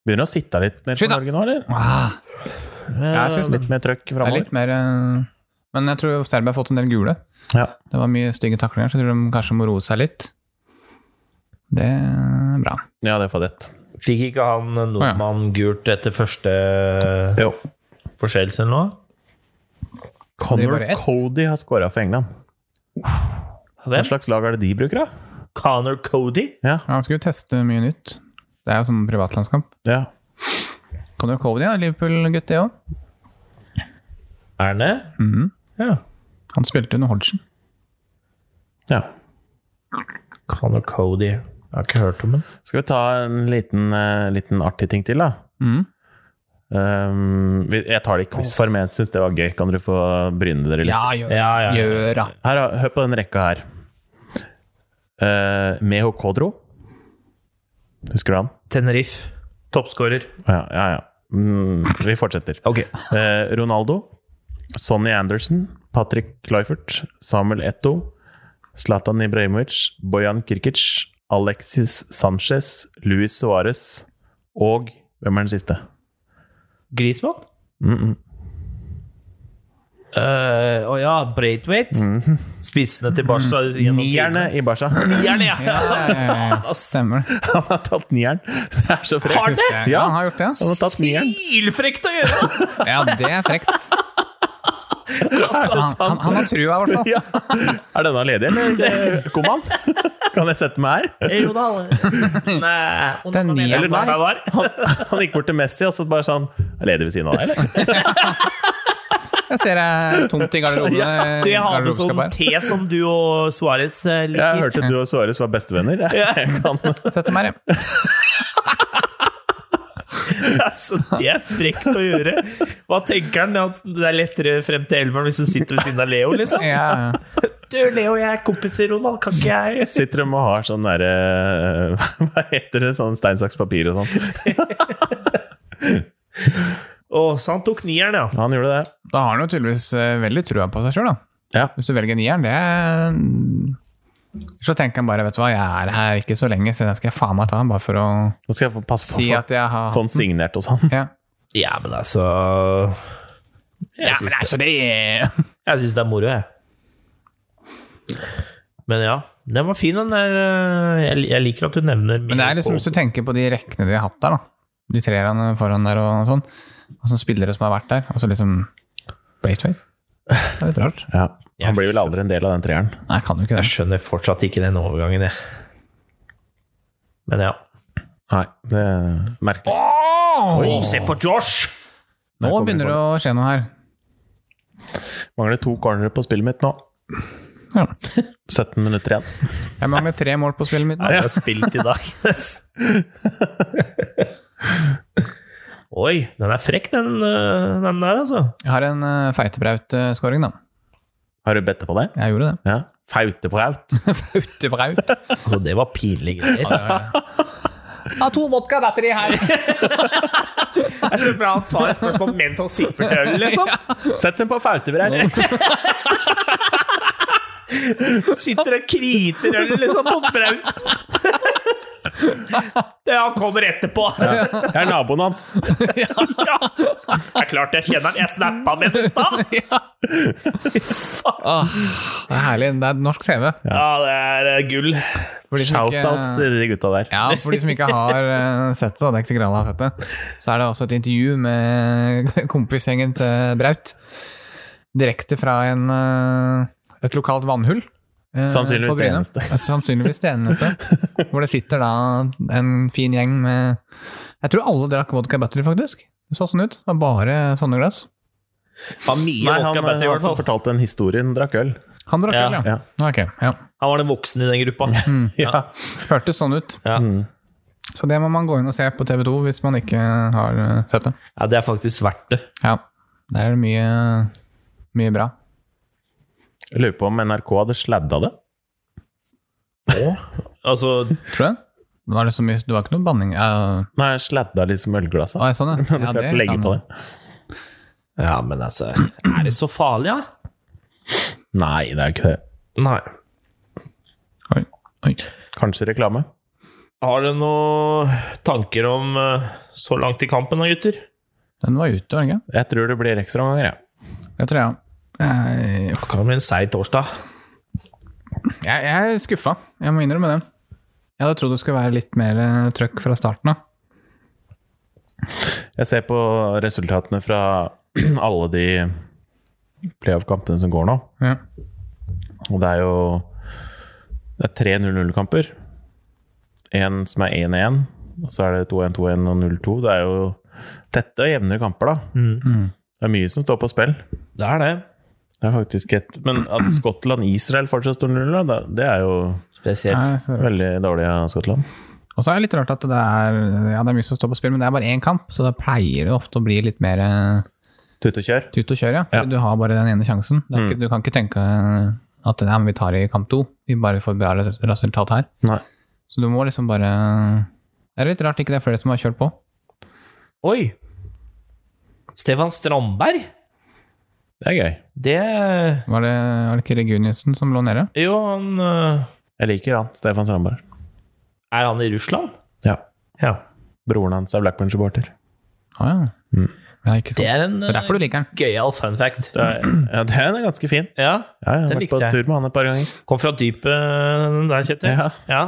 Begynner å sitte litt mer på Skyt da! Norge nå, eller? Ah, Jeg synes synes litt mer trøkk det er framover. litt mer eh, Men jeg tror Serbia har fått en del gule. Ja. Det var mye stygge taklinger, så jeg tror de kanskje må roe seg litt. Det er bra. ja, det er fadett. Fikk ikke han nordmann gult etter første Jo. forseelse eller noe? Det er Connor bare ett. Cody har scora for England. Hva Hvem? slags lag er det de bruker, da? Connor Cody? Ja. Ja, Han skulle jo teste mye nytt. Det er jo sånn privatlandskamp. ja. Conor Covey, ja. Liverpool-gutt, det òg. Er han det? Ja. Han spilte under Hodgson. ja. Connor Cody. Jeg har ikke hørt om ham. Skal vi ta en liten, eh, liten artig ting til, da? Mhm. Um, vi- jeg tar det i quizform. Jeg syns det var gøy. Kan dere få bryne dere litt? Ja, gjør, Ja, ja, ja. gjør (laughs) da. Her, da, hør på den rekka her. Uh, Meho Kodro. Husker du han? Tenerife. Toppskårer. Ja, ja. ja. Mm, vi fortsetter. Ok. Eh, Ronaldo, Sonny Anderson, Patrick Kluivert, Samuel Etto, Zlatan Ibrahimovic, Bojan Kirkic, Alexis Sanchez, Luis Suárez og Hvem er den siste? Grismann? Mm -mm. Eh, Å ja, Braithwaite. Spissene til Barca. gjennom tidene. Mm-hmm. Nierne eh, i Barca. (laughs) Nierne, ja. Ja, ja, ja. Ass. Stemmer det. Han har tatt nieren! Det er så Har frekt. det? Ja, Sånn Ja. han har gjort det. Han har tatt nieren. Ilfrekt å (laughs) gjøre! Ja, det er frekt. (laughs) Han, Altså, han, han har trua, i hvert fall. Ja. Er denne ledig, eller? Kom han? (laughs) Kan jeg sette meg her? Jo da. Nei, Den nieren Eller der. nei. jeg var. Han, han gikk bort til Messi og så bare sånn Er ledig ved siden av deg, eller? Jeg ser det er tomt i (laughs) garderobene. Det har med garderobeskapet sånn her. te som du og Suárez eh, Jeg liker. hørte du og Suárez var bestevenner. Jeg kan Sett dem her, ja. (laughs) Altså, det er frekt å gjøre. Hva tenker han? At det er lettere frem til Elveren hvis han sitter ved siden av Leo, liksom? ja. ja. Du, Leo, jeg er kompiser, Ronald. Kan ikke jeg Sitter de og har sånn derre (laughs) Hva heter det? Sånn stein, saks, papir og sånn. Å, så han tok nieren, ja. Han gjorde det. Da har han jo tydeligvis eh, veldig trua på seg sjøl, da. Ja. Hvis du velger nieren, det er Så tenker han bare, vet du hva, jeg er her ikke så lenge, så den skal jeg faen meg ta, bare for å Nå skal jeg få passe på si å at jeg har få den signert sånn. hos han. Ja. Ja, men altså Jeg ja, syns men altså, det er Jeg syns det er moro, jeg. Men ja, den var fin, den der. eh, Jeg, jeg liker at du nevner Men det er liksom, hvis du tenker på de rekkene de har hatt der, da. De treerne foran der og sånn. Og så spillere som har vært der. Og så liksom Braithwaite. Det er litt rart. Ja. Han blir vel aldri en del av den treeren. Nei, kan jo ikke Jeg det. skjønner fortsatt ikke den overgangen, jeg. Men ja. Nei, det er merkelig. Oi, se på Josh! Nå begynner det å skje noe her. Mangler to cornere på spillet mitt nå. Ja. 17 minutter igjen. Jeg mangler tre mål på spillet mitt. nå. Nei, det er spilt i dag. (laughs) Oi, den er frekk, den, eh, den der, altså. Jeg har en uh, feitebraut-skåring, da. Har du bedt på det? Jeg gjorde det. Ja. Fautebraut. Fautebraut. Altså, det var pinlige greier. Ha to vodka battery her. Det er så bra han svarer spørsmål mens han sipper til øl, liksom. Sett den på Fautebrein! Sitter og kriter øl, liksom, på braut. Det han kommer etterpå. Det er naboen hans. Ja. Det er klart jeg kjenner han. Jeg snappa han med i stad. Åh, det er herlig. Det er norsk TV. Ja, det er eh, gull. For de som ikke- Shout-out til de gutta der. Ja, for de som ikke har eh, sett det, og det er ikke så greit å ha sett det, så er det også et intervju med (laughs) kompisgjengen til Braut. Direkte fra en, eh, et lokalt vannhull. eh, Sannsynligvis på Bryne. det eneste. Ja, Sannsynligvis det eneste. (laughs) Hvor det sitter da en fin gjeng med Jeg tror alle drakk vodka battery, faktisk. Det så sånn ut. Det var bare sånne glass. Var mye Nei, vodka han, Betty, i han hvert som fall. fortalte den historien, drakk øl. Han drakk Ja, øl, ja. Ok, ja. Han var den voksne i den gruppa. (laughs) Ja. Hørtes sånn ut. Ja. Så det må man gå inn og se på TV2 hvis man ikke har eh, sett det. Ja, det er faktisk verdt det. Ja, der er det mye, mye bra. Jeg lurer på om NRK hadde sladda det. Altså, Tror du det? Var det så mye Det var ikke noe banning? Uh, Nei, sladda liksom ølglassa. å, sånn, (laughs) ja. ja Klarte å legge kan- på det. Ja, men altså Er det så farlig, da? Nei, det er jo ikke det. Nei. Oi, oi. Kanskje reklame? Har du noen tanker om eh, så langt i kampen da, gutter? Den var ute, var den ikke? Jeg tror det blir ekstraomganger, jeg. Det tror jeg. Eh, uff. Det kan bli en seig torsdag. Jeg, jeg er skuffa, jeg må innrømme det. Jeg hadde trodd det skulle være litt mer eh, trøkk fra starten av. Jeg ser på resultatene fra (clears throat) alle de playoff-kampene som går nå. Ja. Og det er jo Det er tre 0-0-kamper. Én som er 1-1, og så er det 2-1-2-1 og 0-2. Det er jo tette og jevne kamper, da. Mm. Mm. Det er mye som står på spill. Det er det. Det er faktisk et Men at Skottland-Israel fortsatt står 0-0, da, det er jo Spesielt. Nei, så- veldig dårlig av Skottland. Og så er det litt rart at det er Ja, det er mye som står på spill, men det er bare én kamp, så da pleier det ofte å bli litt mer eh, Tut og kjør. tut og kjør, ja. Ja. Du har bare den ene sjansen. Det er ikke, Du kan ikke tenke eh, at ja, men vi tar det i kamp to, vi bare får bra res- resultat her. Nei. Så du må liksom bare Det er litt rart ikke det er flere som har kjørt på. Oi! Stefan Strandberg? Det er gøy. Det Var det, var det ikke Reguniussen som lå nede? Jo, han eh, Jeg liker han, Stefan Strandberg. Er han i Russland? Ja. Ja. Broren hans er Blackburn-supporter. Å ah, ja. ja. Ikke sant. Det er en Det er uh, derfor du liker den. gøyal fun fact. Det er- Ja, det er ganske fin. Ja. Ja, jeg har Den vært på likte jeg. tur med han et par ganger. Kom fra dypet den der, Kjetil. Ja. Ja.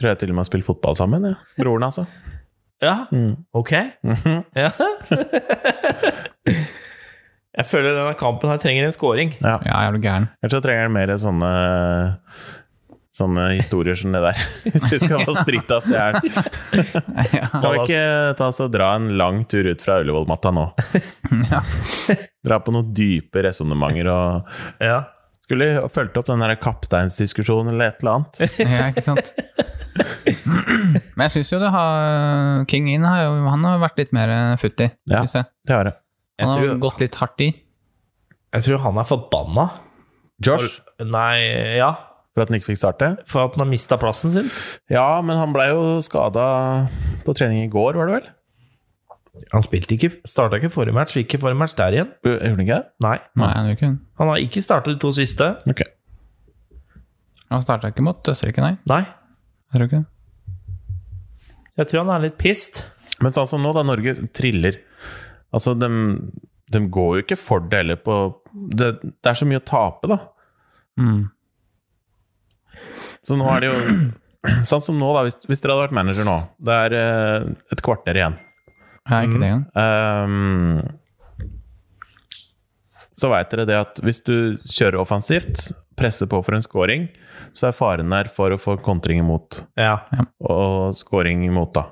Tror jeg til og med har spilt fotball sammen. Ja. Mhm. Broren, (laughs) altså. ja. Ok. Ja. (laughs) Jeg føler denne kampen her trenger en scoring. Ja, er du gæren. Ellers så trenger han mer sånne Sånne historier som det der. (laughs) Hvis vi skal få stritt av fjæren. Kan vi ikke ta oss og dra en lang tur ut fra Ullevål-matta nå? Dra på noen dype resonnementer og Ja. Skulle jo fulgt opp den der kapteinsdiskusjonen eller et eller (laughs) annet. Ja, ikke (laughs) sant? Men jeg syns jo det har King In har jo han har vært litt mer eh, futt i. Ja. synes jeg. Det har jeg. Han har Jeg tror- gått litt hardt i. Jeg tror han er forbanna. Josh, Nei, ja. for at han ikke fikk starte. For at han har mista plassen sin. Ja, men han blei jo skada på trening i går, var det vel? Han spilte ikke, starta ikke forrige match, og ikke forrige match der igjen. Gjorde han ikke det? Nei. Nei, han gjør ikke det. Han har ikke startet de to siste. Ok. Han starta ikke mot Østerrike, nei. Nei. Jeg tror ikke det. Jeg tror han er litt pissed. Men sånn som nå, da Norge triller Altså, de, går jo ikke for det heller på det, det er så mye å tape, da. Mm. Så nå er det jo (clears throat) Sånn som nå, da, hvis, hvis dere hadde vært manager nå Det er eh, et kvarter igjen. Ja, ikke det engang. Ehm, så veit dere det at hvis du kjører offensivt, presser på for en scoring, så er faren der for å få kontring imot. Ja. og scoring imot, da.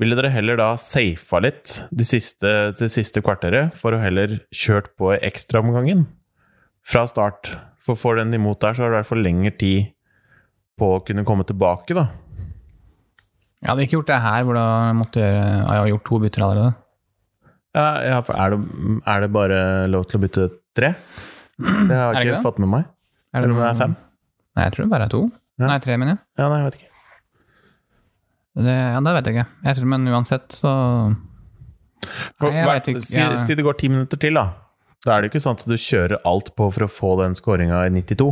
Ville dere heller da safa litt det siste, det siste kvarteret, for å heller kjørt på i ekstraomgangen fra start? For får du den imot der, så har du i hvert fall lengre tid på å kunne komme tilbake, da. Jeg hadde ikke gjort det her hvor du måtte gjøre ja, Jeg har gjort to bytter allerede. Ja, ja, for er det, er det bare lov til å bytte tre? Det har Er det jeg ikke ikke det? fått med meg. Er Eller om det er fem? Nei, jeg tror det bare er to. Ja. Nei, tre, mener jeg. Ja, nei, jeg vet ikke. Det, ja, det vet jeg ikke. Jeg tror, men uansett, så Nei, jeg Hva- vet ikke. Si, Ja. si det går ti minutter til, da. Da er det jo ikke sånn at du kjører alt på for å få den skåringa i 92.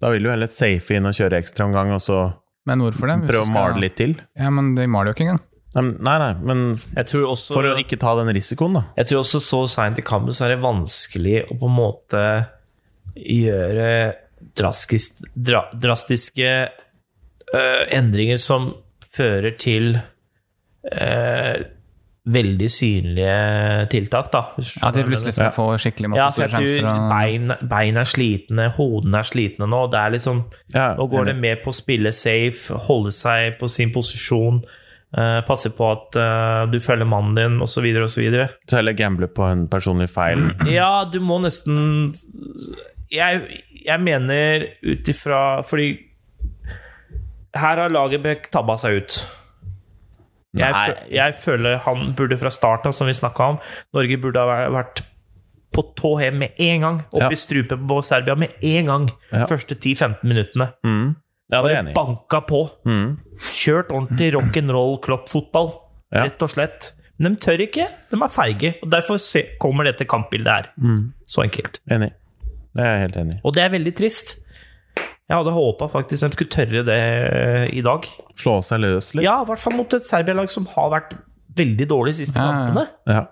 Da vil du heller safe inn og kjøre ekstraomgang, og så Men hvorfor det? Hvis prøve du å skal- male litt til. Ja, men de maler jo ikke engang. Nei, men- nei, nei, men f- Jeg tror også, for å ikke ta den risikoen, da. jeg tror også så seint i kampen så er det vanskelig å på en måte gjøre draskis- dra, drastiske øh, endringer som fører til øh, veldig synlige tiltak, da. hvis du At de skjønner hva jeg plutselig skal få skikkelig masse Ja, for store jeg sjanser. tror Og... bein, bein er slitne, hodene er slitne nå. Det er liksom, Ja, nå går det enig. mer på å spille safe, holde seg på sin posisjon, eh, passe på at eh, du følger mannen din, osv. osv. Så heller gamble på en personlig feil. (clears throat) Ja, du må nesten Jeg, jeg mener ut ifra Fordi her har Lagerbäck tabba seg ut. Jeg, Nei. fø- jeg føler han burde fra starten, som vi snakka om Norge burde ha væ- vært på tå hev med en gang. Opp Ja. i strupen på Serbia med en gang. Ja. Første 10-15 minuttene. Mm. Ja, det er jeg enig i. Banka på. Mm. Kjørt ordentlig rock'n'roll kloppfotball. Ja. Rett og slett. Men de tør ikke. De er feige. Og Derfor se, kommer dette kampbildet her. Så enkelt. Enig. Det er jeg helt enig i. Og det er veldig trist. Jeg hadde håpa faktisk de skulle tørre det eh, i dag. Slå seg løs litt. Ja, i hvert fall mot et Serbia-lag som har vært veldig dårlig de siste Ja, ja. kampene. Ja.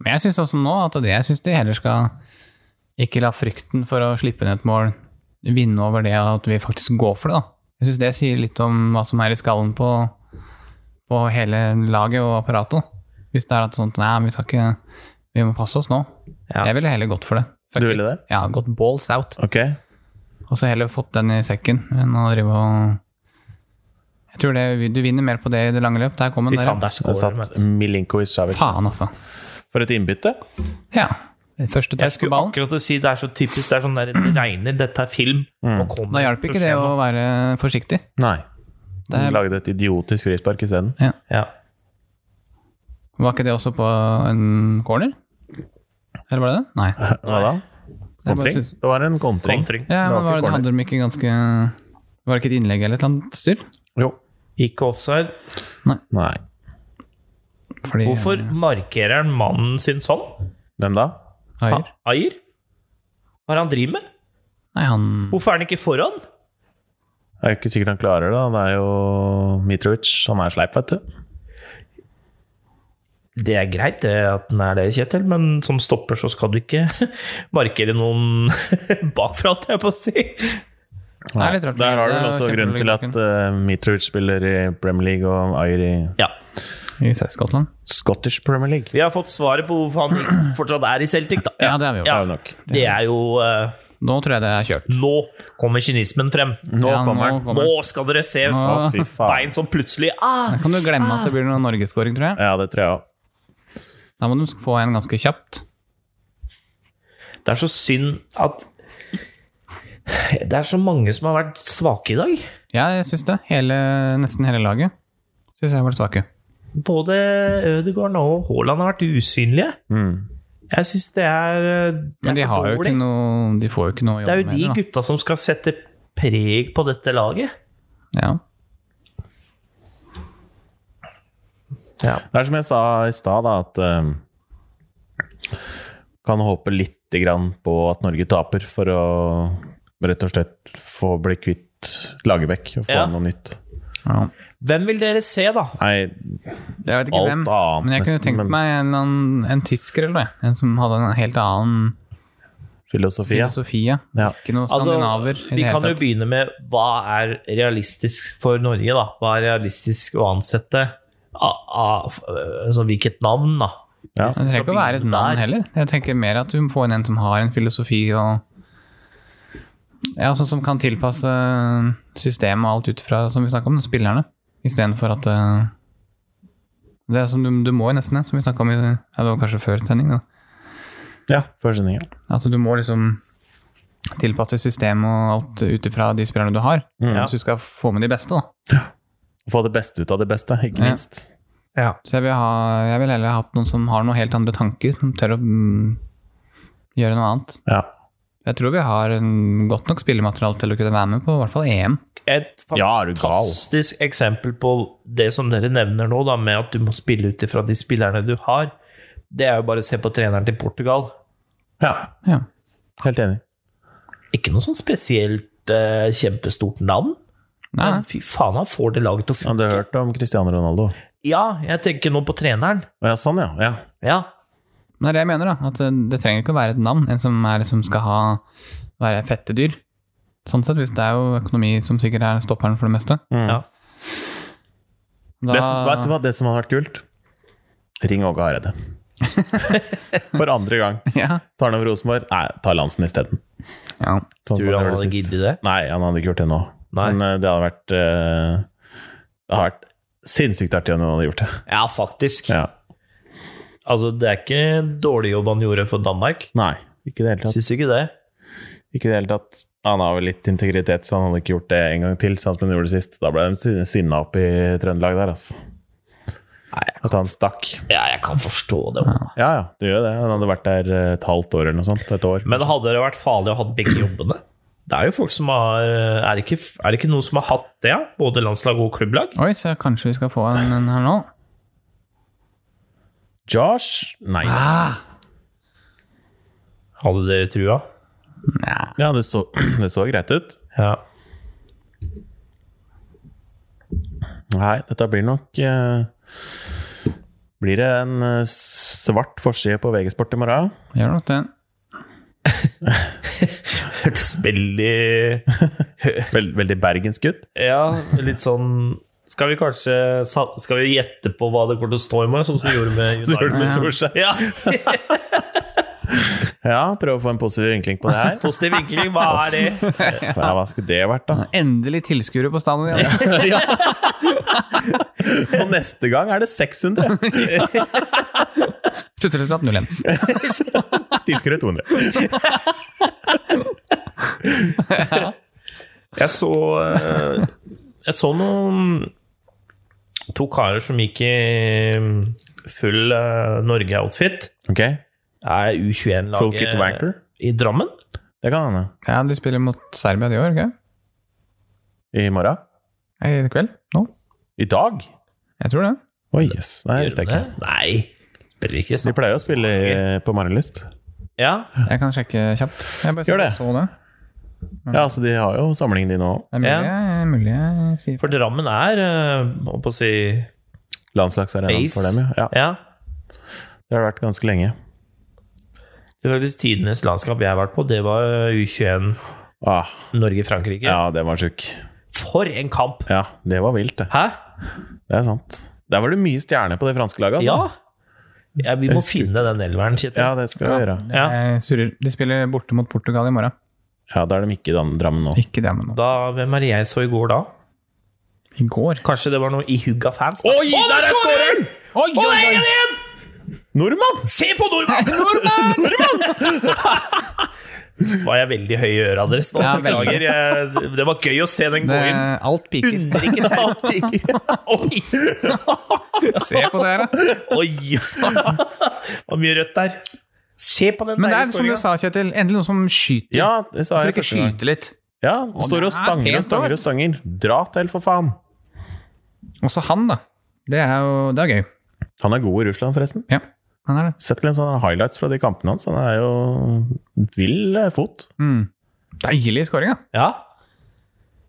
Men jeg syns også nå at det, jeg synes de heller skal ikke la frykten for å slippe ned et mål vinne over det at vi faktisk går for det, da. Jeg syns det sier litt om hva som er i skallen på, på hele laget og apparatet. da. Hvis det er at sånt Nei, vi skal ikke Vi må passe oss nå. Ja. Jeg ville heller gått for det. Fuck Du ville it. det? Ja, gått balls out. Ok. Og så heller fått den i sekken enn å drive og Jeg tror det, du vinner mer på det i det lange løp. Der kom den Fy der. ja. faen, der Det scorer satt de. Milinkovic Savic. Faen, altså. For et innbytte. Ja. Første Jeg touch på skulle ballen. akkurat til å si det er så typisk. Det er sånn der, det regner, dette er film. Nå kommer Da hjalp ikke det å være forsiktig. Nei. Det De lagde et idiotisk frispark isteden. ja. var ikke det også på en corner? Eller var det det? Nei. Hva da? Jeg bare Kontring? synes- Det var en kontring. Kontring. Det var Ja, men ikke var det, corner. hadde de ikke ganske Var det ikke et innlegg eller et eller annet styr? Jo. Ikke offside. Nei. Fordi Hvorfor markerer han mannen sin sånn? Hvem da? Ayer? Ha- Ayer? Hva er det han driver med? Nei, han Hvorfor er han ikke foran? Det er jo ikke sikkert han klarer det. da. Det er jo Mitrovic. Han er sleip, vet du. Det er greit det at den er det, Kjetil, men som stopper så skal du ikke (laughs) markere noen (laughs) bakfra, holdt jeg på å si. Det er litt rart. Der har du Det er vel også kjempedårlig grunnen til at eh, Mitrovic spiller i Premier League og Ayer i Ja. I Skottland? Scottish Premier League. Vi har fått svaret på hvorfor han ikke fortsatt er i Celtic, da. Ja, det har vi gjort. Det er jo nok. Det er jo eh, Nå tror jeg det er kjørt. Nå kommer kynismen frem. Nå Ja, kommer han. Nå skal dere se Å, Nå- fy bein faen. som plutselig ah! Da kan du glemme at det blir noen norgesskåring, tror jeg. Ja, det tror jeg òg. Da må du få en ganske kjapt. Det er så synd at Det er så mange som har vært svake i dag. Ja, jeg syns det. Hele, nesten hele laget syns jeg har vært svake. Både Ødegaard og Haaland har vært usynlige. Mm. Jeg syns det er eh, det Men er de for har jo dårlig. ikke noe De får jo ikke noe å Det er jobbe jo med. de da. gutta som skal sette preg på dette laget. Ja. Ja. Det er som jeg sa i stad, da, at eh, Kan håpe lite grann på at Norge taper for å rett og slett få bli kvitt Lagerbäck og få Ja. noe nytt. ja. Hvem vil dere se, da? Nei, Jeg vet ikke Alt hvem, annet men jeg kunne nesten, tenkt men- meg en, eller annen- en tysker eller noe. En som hadde en helt annen filosofi. ja. filosofi. ja. Ja. Ikke noen Altså, skandinaver. i vi det hele kan jo tatt. begynne med hva er realistisk for Norge, da? Hva er realistisk å ansette? Av, av, altså, hvilket navn, da? Ja. Men det trenger ikke å være et navn Der. heller. Jeg tenker mer at du må få inn en som har en filosofi og Ja, sånn som kan tilpasse systemet og alt ut fra, som vi snakka om, spillerne. Istedenfor at eh, Det er som du, du må jo nesten det, som vi snakka om i, ja, det var kanskje før sending. da. Ja, førstesendinga. At du må liksom tilpasse systemet og alt ut ifra de spillerne du har. Mm. Ja. Hvis du skal få med de beste, da. Få det beste ut av det beste, ikke Ja. minst. Ja. Så jeg vil, ha, jeg vil heller ha hatt noen som har noen helt andre tanker, som tør å mm, gjøre noe annet. Ja. Jeg tror vi har en godt nok spillemateriale til å kunne være med på i hvert fall EM. Et Ja, er du gal? fantastisk eksempel på det som dere nevner nå, da, med at du må spille ut ifra de spillerne du har. Det er jo bare å se på treneren til Portugal. Ja, Ja. helt enig. Ikke noe sånn spesielt eh, kjempestort navn. Nei, Men fy faen, han får det laget til Ja, å du har hørt om Cristiano Ronaldo? Ja, jeg tenker nå på treneren. Å, Ja, sånn, ja. ja. Ja, det er det jeg mener, da. At eh, det- det trenger ikke å være et navn. En som er, som skal ha, være fette dyr. Sånn sett, hvis det er jo økonomi som sikkert er stopperen for det meste. ja. Da, Det, som- Mm. vet du hva det som hadde vært kult? Ring Åge Hareide. For andre gang. (laughs) Ja. Tar han over Rosenborg? Nei, tar Lansen isteden. ja. Sånn Tror som du han gjorde hadde sist. giddet det? Nei, han hadde ikke gjort det nå. Nei. Men eh, det hadde vært eh, Det hadde vært sinnssykt artig om han hadde (laughs) gjort det. Ja, faktisk. Ja. Altså, det er ikke en dårlig jobb han gjorde for Danmark. Nei, ikke i det hele tatt. Syns ikke det. Ikke i det hele tatt. Han har vel litt integritet, så han hadde ikke gjort det en gang til. Sånn som han gjorde det sist. Da ble de sinna opp i Trøndelag der, altså. Nei, jeg- At han stakk. ja, jeg kan forstå det. Ja ja, det gjør det. Han hadde vært der eh, et halvt år eller noe sånt. Et år. Men hadde det vært farlig å ha begge jobbene? Det er jo folk som har eh, Er det ikke, er det ikke noen som har hatt det? ja? Både landslag og klubblag? Oi, så kanskje vi skal få en, en her nå? Josh? Nei. Ah. Hadde dere trua? Nei. Ja, det så, (clears throat) det så greit ut. Ja. Nei, dette blir nok eh, Blir det en eh, svart forside på VG-sport i morgen? Gjør nok det. Hørtes veldig Vel- veldig bergensk ut. Ja, litt sånn Skal vi kanskje sa- Skal vi gjette på hva det kommer til å stå i morgen, sånn (laughs) som vi gjorde med Så gjør det med United? Ja. Solskjær. Ja. (laughs) Ja, prøv å få en positiv vinkling på det her. Positiv vinkling, hva er det? Ja, hva skulle det vært, da? Endelig tilskuere på stadion igjen. (laughs) Ja. Og neste gang er det 600. Sluttresultat 0-1. Tilskuere 200. Jeg så eh, Jeg så noen To karer som gikk i mm, full eh, Norge-outfit. Ok, Er Folket U21-laget Wanker. i Drammen? Det kan hende. Ja, de spiller mot Serbia de år, ikke? I morgen? I kveld? Nå? I dag? Jeg tror det. Oi, jøss. Nei, visste jeg ikke. Nei. Spiller ikke De snart. pleier å spille eh, på Marienlyst. Ja. Jeg kan sjekke kjapt. Jeg bare Gjør det. Så det. Ja, så de har jo samlingen din òg. Det er mulig, jeg- mulig jeg sier For Drammen er eh, Holdt på å si Landslagsarenaen Base. for dem, ja. ja. Ja. Det har det vært ganske lenge. Det var faktisk tidenes landskap jeg har vært på. Det var U21 Ah, Norge-Frankrike. ja, det var sjuk. For en kamp! Ja, det var vilt, det. Hæ? Det er sant. Der var det mye stjerner på det franske laget, Ja! altså. ja vi må husker- finne den elveren, Kjetil. Ja, det skal vi gjøre. Ja. Jeg surrer. De spiller borte mot Portugal i morgen. Ja, da er de ikke i Dan- Drammen nå. Ikke det, men nå. Da, hvem er det jeg så i går da? I går. Kanskje det var noe i hugga fans? da? Oi, der er skåreren! Oi, Å, det er 1-1! Nordmann! Se på nordmannen! Var jeg veldig høy i øra deres nå? Ja, Beklager. Jeg, det var gøy å se den gå Det, inn. alt piker. Unner ikke (laughs) seg. Se på det her, da. Oi! Oi! Hvor mye rødt der. Se på den Men det er deilige som du skåringa. sa, Kjetil. Endelig noen som skyter. Ja, det sa Hvorfor jeg ikke første gang. skyte litt? Ja, står og det er stanger og pent, stanger da. og stanger. Dra til, for faen! Også han, da. Det er jo det er gøy. Han er god i Russland, forresten. Ja, han er det. Sett litt sånne highlights fra de kampene hans. Han er jo vill eh, fot. Mm. Deilig scoring, da. Ja,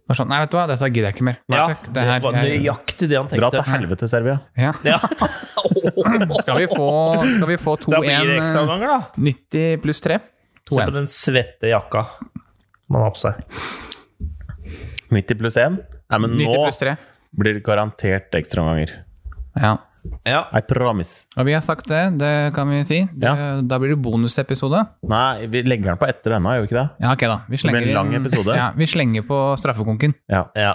Bare Sånn, nei, vet du hva, dette gidder jeg ikke mer. Nei, ja, fuck, det var jeg- nøyaktig det han Dra til tenkte. helvete, Serbia. ja. (laughs) Ja. Skal vi få, skal vi få (laughs) Da blir det 2-1 eh, ekstraomganger, da. 90 pluss 3? Se på 2-1. den svette jakka man har på seg. 90 pluss 1. Nei, men 90 nå pluss 3. blir det garantert ekstraomganger. Ja. Ja. I promise. Og vi har sagt det, det kan vi si. Det, Da blir det bonusepisode. Nei, vi legger den på etter denne, gjør vi ikke det? Ja, ok da. Vi blir slenger, en lang inn- episode. Ja, vi slenger på straffekonken. Ja. ja.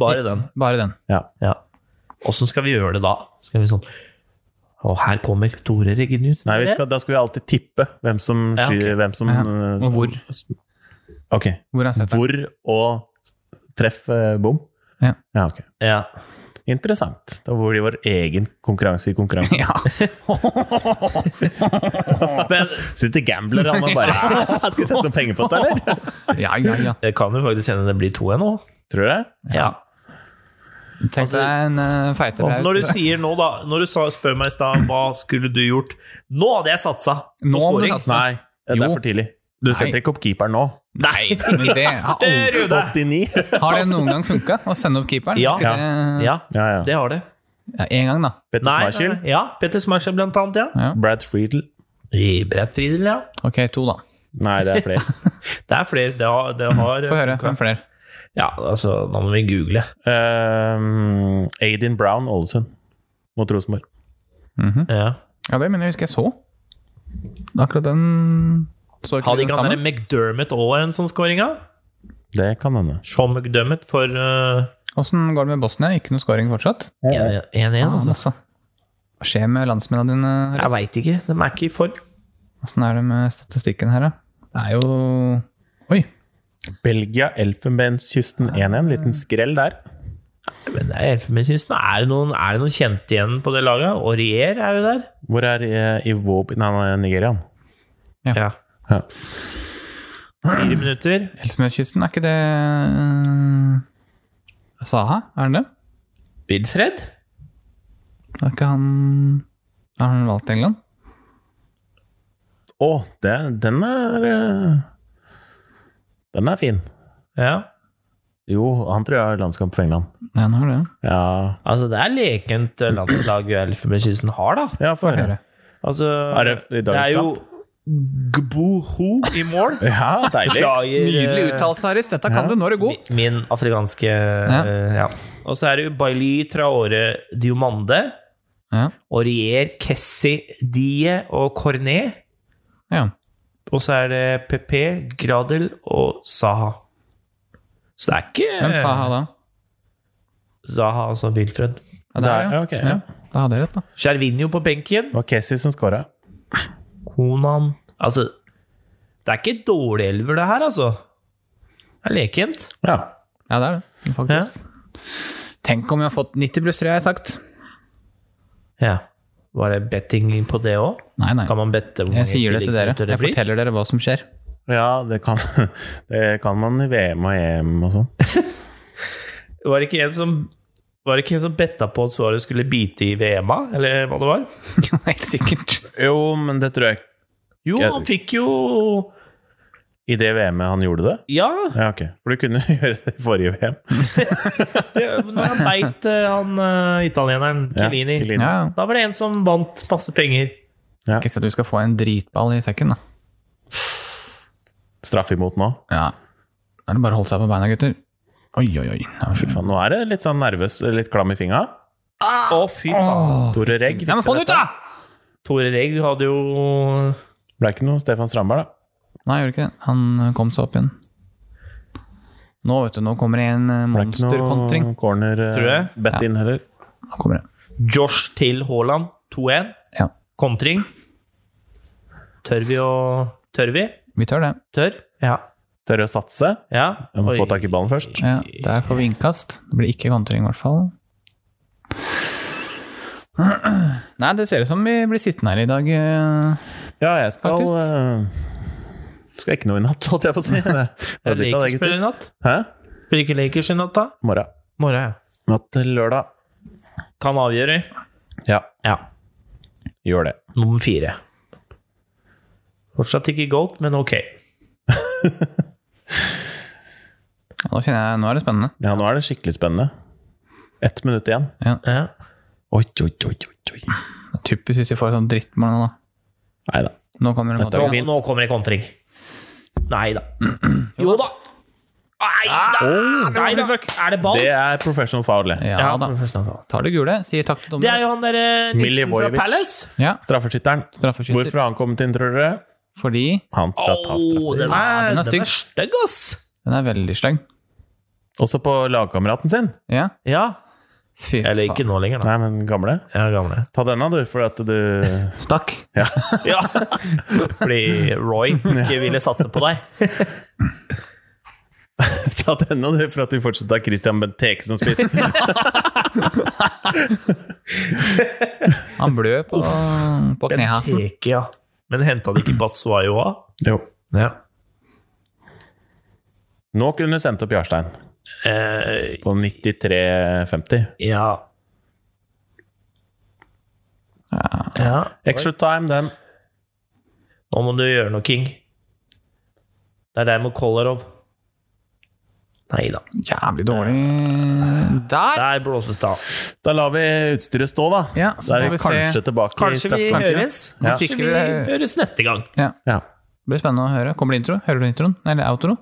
Bare den. Bare den. ja. Ja. Åssen skal vi gjøre det da? Skal vi sånn Og her kommer Tore Reginius. Nei, vi skal, da skal vi alltid tippe hvem som Ja, ok. skyr, hvem som Ja. eh, Og hvor. Ok. Hvor er setteren? Hvor og treff eh, bom? Ja. ja ok. Ja. Interessant. Da var det vår egen konkurranse i (laughs) konkurransen. Ja. Men sitter gambler han og bare (laughs) Skal jeg sette noen penger på dette, eller? ja, ja, ja. Det kan jo faktisk hende det blir to ennå. Tror du det? Ja. Tenk Altså- deg en uh, feitere Og når du braut. sier nå, da Når du sa, spør meg i stad hva skulle du gjort Nå hadde jeg satsa! på Nå må du scoring. satse. Nei, det er Jo. for tidlig. Du setter ikke opp keeperen nå. Nei! (laughs) Men det har, Det aldri, er Rune! 89. har det noen gang funka å sende opp keeperen? Ja. Ikke det- oh. Ja, Ja, (laughs) ja. det har det. ja, En gang, da. Petter Nei, nei, Schmeichel, nei. Ja, Petter Smarshill blant annet, ja. Brad Friedel I Brett Friedel, ja. Ok, to, da. Nei, det er flere. Det er flere. Det har, det har Få høre. Hvem flere? Ja, altså, nå må vi google. Um, Aidin Brown Ålesund mot Rosenborg. Mhm. Ja. Ja, det mener jeg husker jeg så. Akkurat den står ikke Hadde den ikke han sammen. der McDermott òg en sånn scoring? da? Det kan hende. Sean McDermott for eh, Åssen går det med Bosnia? Ikke noe scoring fortsatt? 1-1. Faen, altså. altså. Hva skjer med landsmennene dine? Jeg veit ikke. De er ikke i form. Åssen er det med statistikken her, da? Det er jo Oi! Belgia, Elfenbenskysten 1-1. Liten skrell der. Men det er Elfenbenskysten. Er, det noen- er det noen kjente igjen på det laget? Aurier er jo der. Hvor er eh, Iwobi Nei, han er Nigerian. Ja. Ja. Fire minutter. Elsmørkysten, er ikke det eh, Saha? Er han det? Wilfred? Er ikke han Har han valgt England? Å, det, den er eh, Den er fin. Ja. Jo, han tror jeg har landskamp for England. Ja, han har det. Ja, Altså, det er lekent eh, landslag Elfenbenskysten har, da. ja få Få høre. høre. Altså, Er det i det dagens er jo Gboho i (laughs) mål. Ja, deilig. Beklager, eh, uttalelse, Aris. Dette kan du når du er mi- Min afrikanske eh, Ja. Og så er det Bailly Traore Diomande. Ja. Aurier Kessi Die og Cornet. ja. Og så er det PP, Gradel og Saha. Så det er ikke Hvem sa ha da? Zaha, altså Wilfred. Ja, det er det, Der, ja, ok, ja. Da hadde jeg rett, da. Skjervinho på benken. Det var Kessi som skåra. Konan Altså, det er ikke dårlig elver, det her, altså. Det er lekent. Ja. Ja, det er det, faktisk. Tenk om vi har fått 90 pluss 3, har jeg sagt. Ja. Var det betting på det òg? Nei, nei. Kan man bette hvor mange Jeg sier det til dere. tilleggsminutter det Jeg blir? forteller dere hva som skjer. (laughs) Ja, det kan, (laughs) det kan man i VM og EM og sånn. Var det ikke en som var det ikke en som betta på at Suarez skulle bite i VM-a, eller hva det var? Jo, Helt sikkert. Jo, men det tror jeg ikke. Jo, Jeg- han fikk jo I det VM-et han gjorde det? Ja! Ja, ok. For du kunne (laughs) gjøre det i forrige VM. Det, når han beit eh, han eh, italieneren Ja, Chiellini. Chiellini. Ja, Da var det en som vant masse penger. Ikke så at du skal få en dritball i sekken, da. Straff imot nå. Ja. Da er det bare å holde seg på beina, gutter. Oi, oi, oi. Ja, fy faen. Faen, nå er det litt sånn nervøs, litt klam i fingra. Å, fy faen. Tore Regg Ah. Ja, men få den ut, da! Tore Regg hadde jo Ble ikke noe Stefan Strandberg, da. Nei, gjorde ikke det. Han eh, kom seg opp igjen. Nå, vet du, nå kommer det en eh, Ble ikke monsterkontring. noe corner Tror uh, jeg. bet Ja. inn heller. Nå kommer det. Josh til Haaland 2-1. Ja. Kontring. Tør vi å Tør vi? Vi tør det. Tør? Ja. Tørre å satse. ja. Jeg må Oi. få tak i ballen først. Ja, der får vi innkast. Det blir ikke kontring, i hvert fall. Nei, det ser ut som vi blir sittende her i dag. eh. Ja, jeg skal Faktisk. eh, Skal ikke noe i natt, holdt jeg på å (laughs) si. Bare Er det sitt av det, Lakers gutter. spiller i natt? Hæ? Blir ikke Lakers i natt, da? Morgen. Morgen, ja. Natt til lørdag. Kan avgjøre. Ja, Ja. gjør det. Nummer fire. Fortsatt ikke gold, men ok. Nå kjenner jeg, nå er det spennende. Ja, nå er det skikkelig spennende. Ett minutt igjen. Ja. Oi, oi, oi, oi, oi. Det er Typisk hvis vi får sånn drittmål nå. da. Nei da. Nå kommer det en Dette var kontring. fint. Nå kommer det kontring. Nei da. (clears throat) Jo da! Nei da! Nei da. Er det ball? Ah! Det er professional foul. det. Ja da. Tar det gule, sier takk til Det dommeren. er jo han derre nissen fra Milivojevic. Palace. Ja, Straffeskytteren. straffeskytter. Hvorfor har han kommet inn, tror dere? Fordi Han skal ta Åh, straffer. Ah, den Ja, er, den er den stygg. er stygg, ass! den er veldig stygg. Også på lagkameraten sin. Ja. Ja. Fy Eller ikke faen. nå lenger, da. Nei, men gamle. Ja, gamle. Ta denne, du, for at du Stakk. Ja. (laughs) Ja. Fordi Roy ikke ville satse på deg. (laughs) Ta denne du, for at vi fortsatt har Christian Benteke som spiss. Han blø på, på knehasen. Benteke, ja. Men henta de ikke Batsuayo òg? (laughs) jo. Ja. Nå kunne du sendt opp Jarstein Eh, på 93,50. ja. ja. Extra time, den. Nå må du gjøre noe, King. Det er deg mot Kolarov. Nei da. Jævlig dårlig Der! Der blåses det av. Da lar vi utstyret stå, da. Ja, så så er vi får vi kanskje se. tilbake Kanskje eh, vi straffekonkurransen. høres. Ja. Kanskje vi høres neste gang. Ja. Det blir spennende å høre. Kommer det intro? Hører du introen? Eller outro?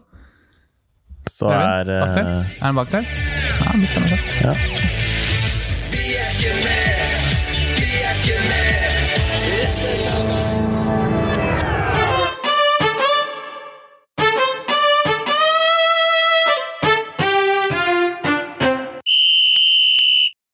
Så er Hører du den? Bak der? eh, Er den bak der? Ja, det blir spennende. ja.